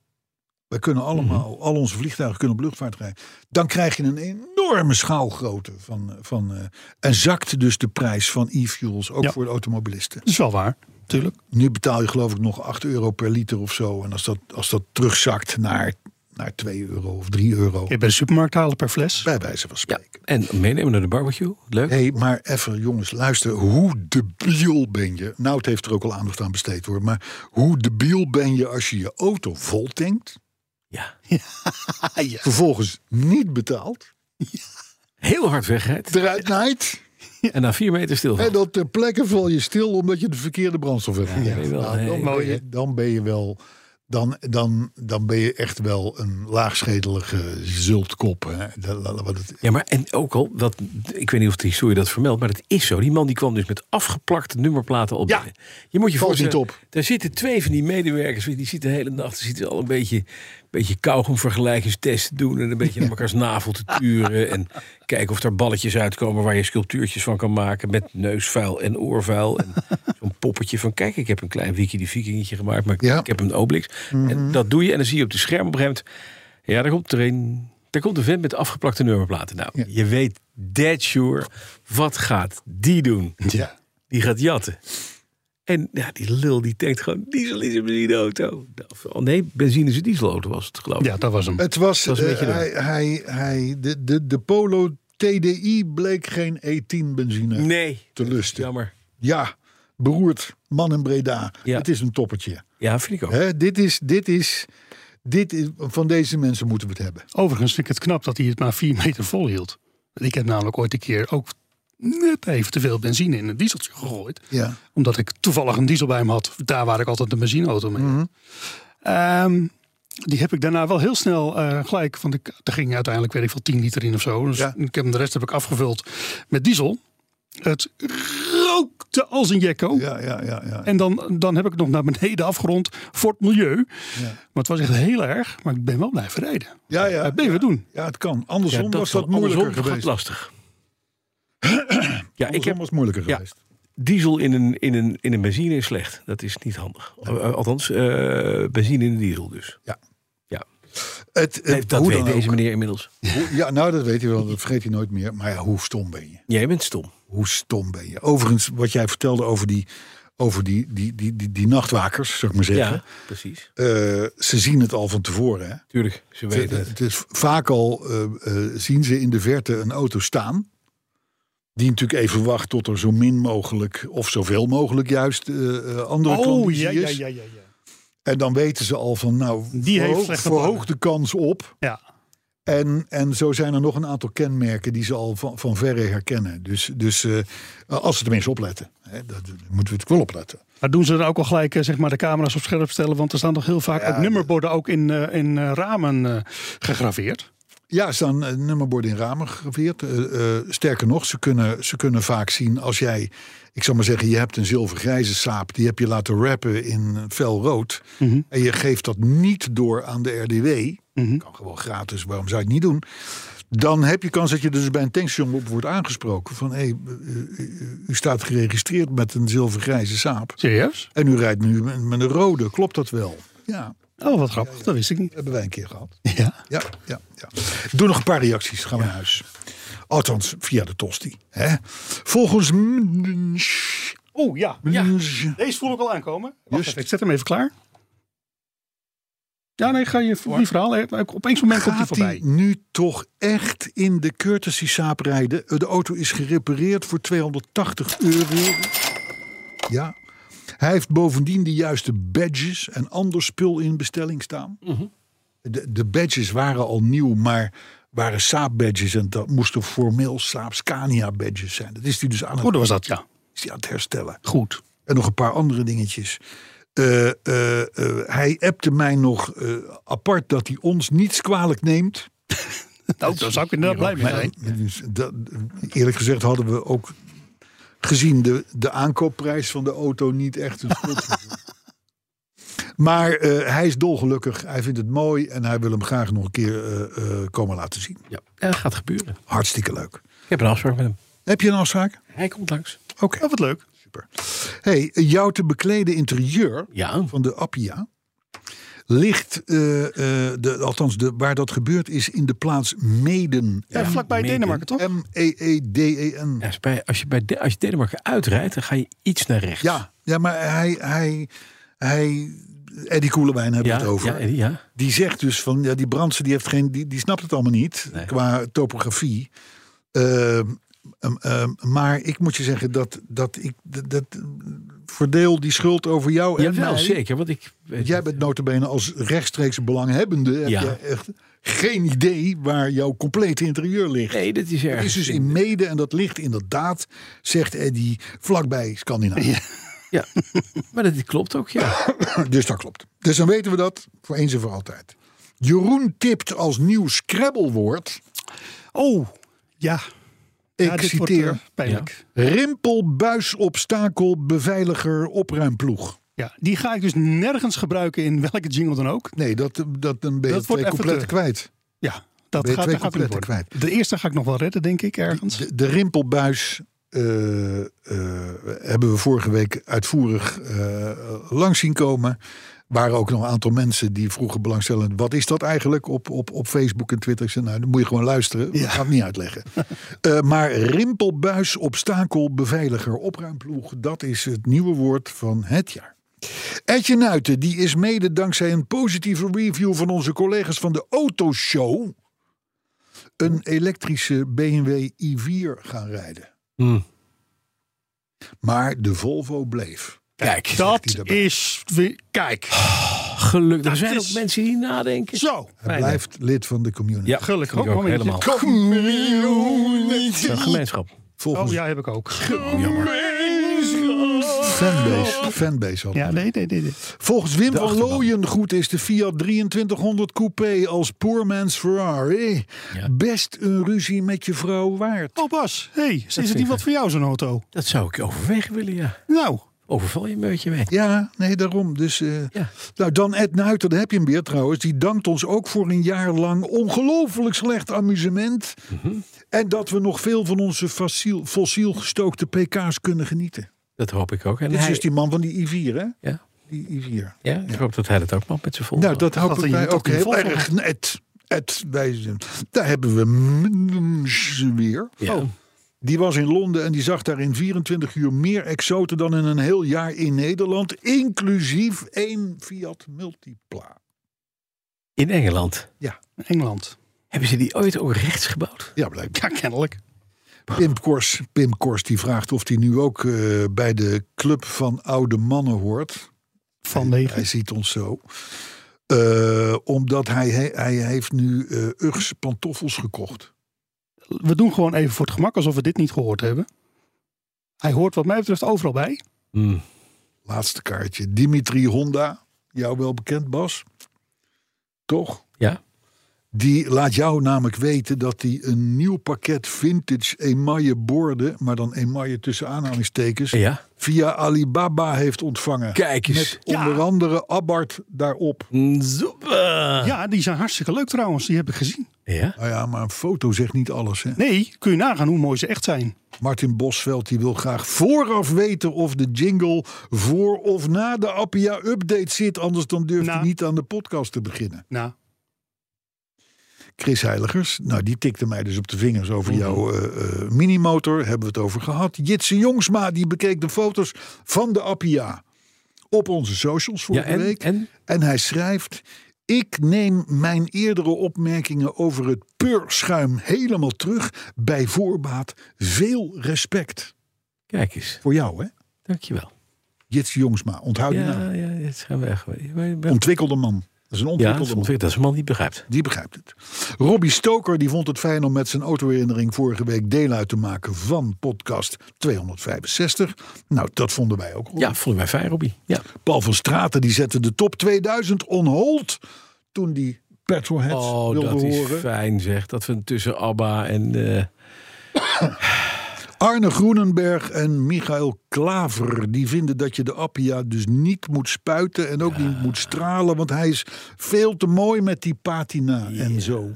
Wij kunnen allemaal, al onze vliegtuigen kunnen op luchtvaart rijden. Dan krijg je een enorme schaalgrootte. Van, eh, van, eh, en zakt dus de prijs van e-fuels, ook Ja. voor de automobilisten. Dat is wel waar. Tuurlijk. Nu betaal je geloof ik nog 8 euro per liter of zo. En als dat, als dat terugzakt naar, naar 2 euro of 3 euro... Je bij de supermarkt halen per fles. Bij wijze van Ja. spreken. En meenemen naar de barbecue. Leuk. Hé, hey, maar even jongens, luister. Hoe debiel ben je? Nou, het heeft er ook al aandacht aan besteed hoor. Maar hoe debiel ben je als je je auto vol tankt, Ja. vervolgens niet betaalt, Heel hard wegrijdt. eruit naait En na vier meter stil. en dan ter plekke val je stil omdat je de verkeerde brandstof hebt. dat ben gegeten. je wel, Nou, hey. dan, ben Mooi, je, dan ben je wel... Dan, dan, dan ben je echt wel een laagschedelige zultkop. Hè. Dat- dat- wat het- Ja, maar en ook al, dat, ik weet niet of de historie dat vermeldt, maar het is zo. Die man die kwam dus met afgeplakte nummerplaten op. Ja. binnen. je moet je Valt voorstellen, niet op. Daar zitten twee van die medewerkers, die zitten de hele nacht, die zitten al een beetje, beetje kauwgomvergelijkingstests te doen en een beetje aan elkaars navel te turen en kijken of er balletjes uitkomen waar je sculptuurtjes van kan maken met neusvuil en oorvuil en zo'n poppetje van kijk, ik heb een klein wiki die vikingetje gemaakt, maar ik- Ja. Mhm. ik heb een Obelix. En dat doe je en dan zie je op de scherm op een gegeven moment, ja, daar komt er een. Daar komt een vent met afgeplakte nummerplaten. Nou, Ja. je weet dead sure, wat gaat die doen? Ja. Die gaat jatten. En ja, die lul die denkt gewoon, diesel is een benzineauto. Of, Oh nee, benzine is een dieselauto was het geloof ik. Ja, dat was hem. Het was, Dat was een eh, beetje hij, dom. hij, hij, de, de, de Polo TDI bleek geen E10 benzine Nee, te lusten. jammer. Ja, beroerd, man in Breda. Ja. Het is een toppertje. Ja, vind ik ook. Hè, dit, is, dit, is, dit is, van deze mensen moeten we het hebben. Overigens vind ik het knap dat hij het maar vier meter vol hield. Ik heb namelijk ooit een keer ook net even te veel benzine in een dieseltje gegooid. Ja. Omdat ik toevallig een diesel bij hem had. Daar waar ik altijd een benzineauto mee. had. Ehm, die heb ik daarna wel heel snel eh, gelijk. Want ik, er ging uiteindelijk, weet ik veel, 10 liter in of zo. Dus Ja. ik heb, hem- de rest heb ik afgevuld met diesel. Het ook de als een jekko. Ja, ja, ja. ja. En dan, dan heb ik het nog naar beneden afgerond voor het milieu. Maar het was echt heel erg. Maar ik ben wel blijven rijden. ja, ja, Dat ben je weer doen. ja, het kan. Andersom was zal- dat moeilijker andersom geweest. gaat lastig. ja, ik Andersom heb was het moeilijker Ja. geweest. diesel in een, in, een, in een benzine is slecht. Dat is niet handig. Eh, Althans, eh, benzine in de diesel dus. Het, het- Nee, dat hoe weet Eh, dan deze ook. meneer inmiddels. Hoe- Ja, nou, dat weet hij wel. Dat vergeet hij nooit meer. Maar ja, hoe stom ben je? Jij bent stom. Hoe stom ben je? Overigens, wat jij vertelde over die, over die, die, die, die, die nachtwakers, zou ik maar zeggen. Ja, precies. Eh, ze zien het al van tevoren. Hè? Tuurlijk, ze Het, weten het. het is vaak al eh, eh, zien ze in de verte een auto staan. Die natuurlijk even wacht tot er zo min mogelijk of zoveel mogelijk juist eh, eh, andere Oh, klandizie ja, ja, is. ja, ja. ja. En dan weten ze al van nou, Die heeft verhoog, slechte verhoog plannen. de kans op. ja. En, en zo zijn er nog een aantal kenmerken die ze al van, van verre herkennen. Dus, dus eh, als ze tenminste opletten. Hè, dat, dat moeten we het wel opletten. Maar doen ze dan ook al gelijk eh, zeg maar, de camera's op scherp stellen? Want er staan toch heel vaak ook nummerborden ook in, eh, in eh, ramen eh, gegraveerd. Ja, er staan eh, nummerborden in ramen gegraveerd. Eh, eh, sterker nog, ze kunnen, ze kunnen vaak zien als jij... Ik zal maar zeggen, je hebt een zilvergrijze saap. Die heb je laten wrappen in felrood. En je geeft dat niet door aan de RDW. Kan gewoon gratis, waarom zou je het niet doen? Dan heb je kans dat je dus bij een tankstation op wordt aangesproken. Van, hé, hey, eh, u staat geregistreerd met een zilvergrijze saap. Serieus? En u rijdt nu met met een rode, klopt dat wel? Ja, Oh, wat grappig. Dat wist ik niet. dat hebben wij een keer gehad. Ja. Ja, ja, ja. Doe nog een paar reacties. Gaan we naar huis. Althans, via de tosti. Hè? Volgens... Mnsch- Oh ja. Mnsch- Deze voel ik al aankomen. Wacht Mm. Just. even, ik zet hem even klaar. Ja, nee, ga je die verhaal. eh, Op een moment komt hij Gaat hij voorbij. nu toch echt in de courtesy saap rijden? De auto is gerepareerd voor 280 euro. Ja. Hij heeft bovendien de juiste badges en ander spul in bestelling staan. Mhm. de, de badges waren al nieuw, maar waren saap badges. En dat moesten formeel saap Scania badges zijn. Dat is hij dus aan het, Goed was dat, ja. is hij aan het herstellen. Goed. En nog een paar andere dingetjes. Eh, eh, eh, hij appte mij nog eh, apart dat hij ons niets kwalijk neemt. Nou, daar zou ik inderdaad blij mee zijn. Maar, dus dat- eerlijk gezegd hadden we ook gezien de, de aankoopprijs van de auto niet echt een schuld. maar eh, hij is dolgelukkig, hij vindt het mooi en hij wil hem graag nog een keer eh, eh, komen laten zien. Ja. Ja, dat gaat gebeuren. Hartstikke leuk. Ik heb een afspraak met hem. Heb je een afspraak? Hij komt langs. Oké. Oh, wat leuk. Super. Hey, jouw te bekleden interieur Ja. van de Appia ligt, eh, eh, de, althans de, waar dat gebeurt, is in de plaats E Meden. Ja, vlakbij mede. Denemarken, toch? M-E-E-D-E-N. Ja, als, bij, als, je bij de, als je Denemarken uitrijdt, dan ga je iets naar rechts. Ja, ja maar hij, hij, hij, Eddie Koelewijn hebben ja, het over. Ja, Eddie, ja. Die zegt dus van, ja, die brandse die heeft geen, die, die snapt het allemaal niet Nee. qua topografie. Ehm, ehm, ehm, maar ik moet je zeggen dat, dat ik dat, dat, eh, verdeel die schuld over jou en Jawel, mij. zeker. Want ik weet Jij bent notabene als rechtstreeks belanghebbende heb Ja. jij echt geen idee waar jouw complete interieur ligt. Nee, dat is Het erg. is dus in Mede en dat ligt inderdaad, zegt Eddie, vlakbij Scandinavië. Ja. maar dat klopt ook, ja. Dus dat klopt. Dus dan weten we dat voor eens en voor altijd. Jeroen tipt als nieuw Scrabblewoord. Oh, ja. Ik ja, dit wordt, citeer. eh, pijnlijk. Rimpel, buis, obstakel, beveiliger, opruimploeg. Ja. die ga ik dus nergens gebruiken in welke jingle dan ook. Nee, dat, dat, dan ben je Dat wordt twee even coupletten te- kwijt. Ja, dat Ben je gaat, twee dat gaat hem niet coupletten worden. De eerste ga ik nog wel redden, denk ik, ergens. De, de rimpelbuis eh, eh, hebben we vorige week uitvoerig eh, langs zien komen. Waren ook nog een aantal mensen die vroegen belangstellend. Wat is dat eigenlijk op, op, op Facebook en Twitter? Ik zei, nou, dan moet je gewoon luisteren. Ik ga het niet uitleggen. Eh, maar rimpelbuis, obstakel, beveiliger, opruimploeg. Dat is het nieuwe woord van het jaar. Edje Nuiten, die is mede dankzij een positieve review van onze collega's van de Autoshow een elektrische BMW i4 gaan rijden. Hmm. Maar de Volvo bleef. Kijk, hij dat daarbij. is... weer- Kijk, gelukkig. Er zijn is- ook mensen die nadenken. zo. Hij blijft lid van de community. Ja, Gelukkig ik ook, ook momentje. helemaal. Community. Een gemeenschap. Volgens Oh ja, heb ik ook. Jammer. fanbase. Fanbase hadden Ja, we. nee, nee, nee. nee. Volgens Wim De van achterban. Looyen goed is de Fiat 2300 Coupé als poor man's Ferrari. Ja. Best een ruzie met je vrouw waard. Oh Bas, hey, is het ik niet wat voor jou zo'n auto? Dat zou ik overwegen willen, ja. Nou, Overval je een beetje mee. Ja, nee, daarom. Dus, eh, Ja. Nou, dan Ed Nuiter, daar heb je hem weer trouwens. Die dankt ons ook voor een jaar lang ongelooflijk slecht amusement. En dat we nog veel van onze fossiel, fossiel gestookte pk's kunnen genieten. Dat hoop ik ook. En Dit is hij, dus die man van die i4, hè? ja, Die i4. ja, ik hoop dat hij dat ook mag met zijn volgende. Nou, dat hoop dat ik je mij dat ook niet heel volgt. erg. Ed, Ed, wij, daar hebben we Mms weer. Ja. Die was in Londen en die zag daar in 24 uur meer exoten dan in een heel jaar in Nederland. Inclusief één Fiat Multipla. In Engeland. Engeland. Hebben ze die ooit ook rechts gebouwd? Ja, blijkbaar. Ja, kennelijk. Pim Kors, Pim Kors die vraagt of hij nu ook eh, bij de club van oude mannen hoort. Van Hij negen. ziet ons zo. Eh, omdat hij, hij, hij heeft nu eh Uggs pantoffels gekocht. We doen gewoon even voor het gemak alsof we dit niet gehoord hebben. Hij hoort wat mij betreft overal bij. Mm. Hmm. Laatste kaartje. Dimitri Honda, jou wel bekend Bas? Toch? Ja? Die laat jou namelijk weten dat hij een nieuw pakket vintage emaille borden, maar dan emaille tussen aanhalingstekens, Ja. via Alibaba heeft ontvangen. Kijk eens. Met onder andere Abarth daarop. Mm, Super. Ja, die zijn hartstikke leuk trouwens. Die heb ik gezien. Ja. Nou ja, maar een foto zegt niet alles. Hè? Nee, kun je nagaan hoe mooi ze echt zijn. Martin Bosveld die wil graag vooraf weten of de jingle voor of na de Appia-update zit. Anders dan durft Nou. hij niet aan de podcast te beginnen. Nou, Chris Heiligers, nou die tikte mij dus op de vingers over jouw eh, eh, minimotor. Hebben we het over gehad. Jitse Jongsma die bekeek de foto's van de Appia op onze socials Ja, vorige en, week. en? En hij schrijft: Ik neem mijn eerdere opmerkingen over het peurschuim helemaal terug. Bij voorbaat veel respect. Kijk eens. Voor jou, hè? Dankjewel. Jits Jongsma, onthoud je Oh, naam. Ja, ja, dat zijn we echt. wij- wij- Ontwikkelde man. Dat is een Ja, ontwikkelde man. dat is een man die het begrijpt. Die begrijpt het. Robbie Stoker die vond het fijn om met zijn autoherinnering vorige week deel uit te maken van podcast 265. Nou, dat vonden wij ook. Ja, vonden wij fijn, Robbie. Ja. Paul van Straten die zette de top 2000 on hold toen die Petrolhead Oh, wilde dat is horen. fijn zeg. Dat we tussen Abba en... eh, Arne Groenenberg en Michael Klaver die vinden dat je de Appia dus niet moet spuiten en ook niet moet stralen, want hij is veel te mooi met die patina en zo.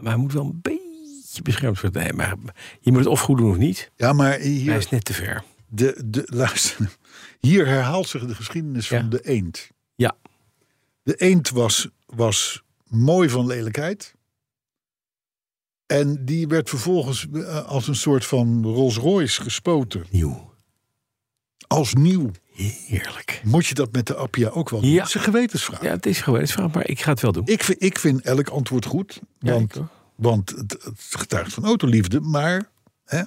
maar hij moet wel een beetje beschermd worden. Nee, maar je moet het of goed doen of niet. Ja, maar Hij hier, is net te ver. de, de, luister, hier herhaalt zich de geschiedenis Ja. van de eend. Ja. De eend was, was mooi van lelijkheid. En die werd vervolgens eh, als een soort van Rolls Royce gespoten. Nieuw. Als nieuw. Heerlijk. Moet je dat met de Appia ook wel doen? Ja. Het is een gewetensvraag. Ja, het is gewoon een vraag, maar ik ga het wel doen. Ik, vind- ik vind elk antwoord goed. Ja, Want, ik ook. want het, het getuigt van autoliefde. Maar. Hè?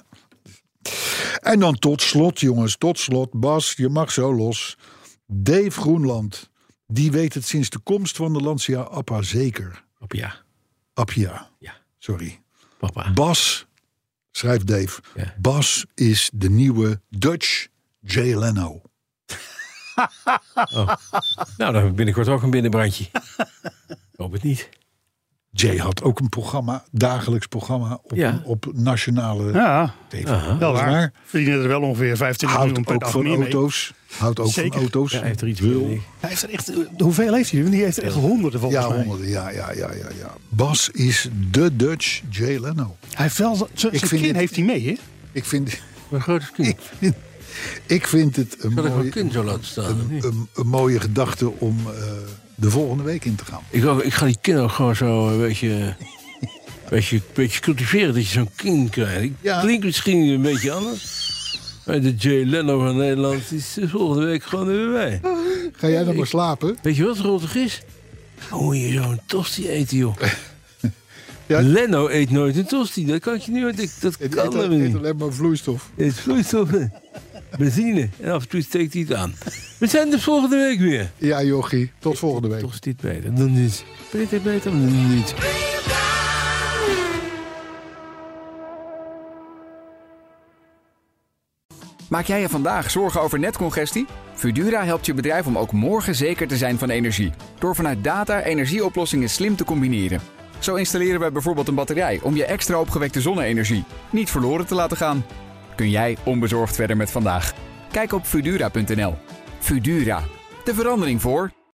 En dan tot slot, jongens, tot slot. Bas, je mag zo los. Dave Groenland. Die weet het sinds de komst van de Lancia Appa zeker. Op ja. Appia, Ja, sorry. papa. Bas, schrijft Dave. Ja. Bas is de nieuwe Dutch Jay Leno. Nou, dan heb ik binnenkort ook een binnenbrandje. Ik Hoop het niet. Jay had ook een programma, dagelijks programma op, Ja. op nationale ja, TV. Aha. wel Dat is waar. waar. Verdienen er wel ongeveer 25 miljoen Houdt per ook dag van meer mee. auto's. Houdt ook van Zeker. auto's. Ja, hij heeft er iets Wil. mee. Hij heeft er echt, hoeveel heeft hij? Want Die heeft er echt honderden volgens Ja, mij. honderden. Ja, ja, ja, ja, ja. Bas is de Dutch Jay Leno. Hij heeft wel, z- zijn vind kind dit- heeft hij mee, hè? Ik vind, Een grote kind. ik vind het een Dat ik mijn mooie, kind zo laten staan. of niet? een, een mooie gedachte om eh, de volgende week in te gaan. Ik, wou- ik ga die kinderen gewoon zo een beetje, een beetje, een beetje cultiveren dat je zo'n kind krijgt. Ik Ja. klink misschien een beetje anders. Maar de Jay Leno van Nederland die is volgende week gewoon er weer bij. Ga jij dan maar slapen? Weet je wat rotig is? Hoe moet je zo'n tosti eten, joh. Ja. Leno eet nooit een tosti. Dat kan ik je niet. Dat, dat Het kan helemaal niet. alleen maar vloeistof. Het is vloeistof, hè. benzine. En af en toe steekt hij het aan. We zijn er volgende week weer. Ja, jochie. Tot volgende week. Toch is dit beter dan niet. Beter, beter dan niet. Maak jij je vandaag zorgen over netcongestie? Fudura helpt je bedrijf om ook morgen zeker te zijn van energie. Door vanuit data energieoplossingen slim te combineren. Zo installeren wij bijvoorbeeld een batterij om je extra opgewekte zonne-energie niet verloren te laten gaan. Kun jij onbezorgd verder met vandaag? Kijk op Fudura.nl. Fudura, de verandering voor.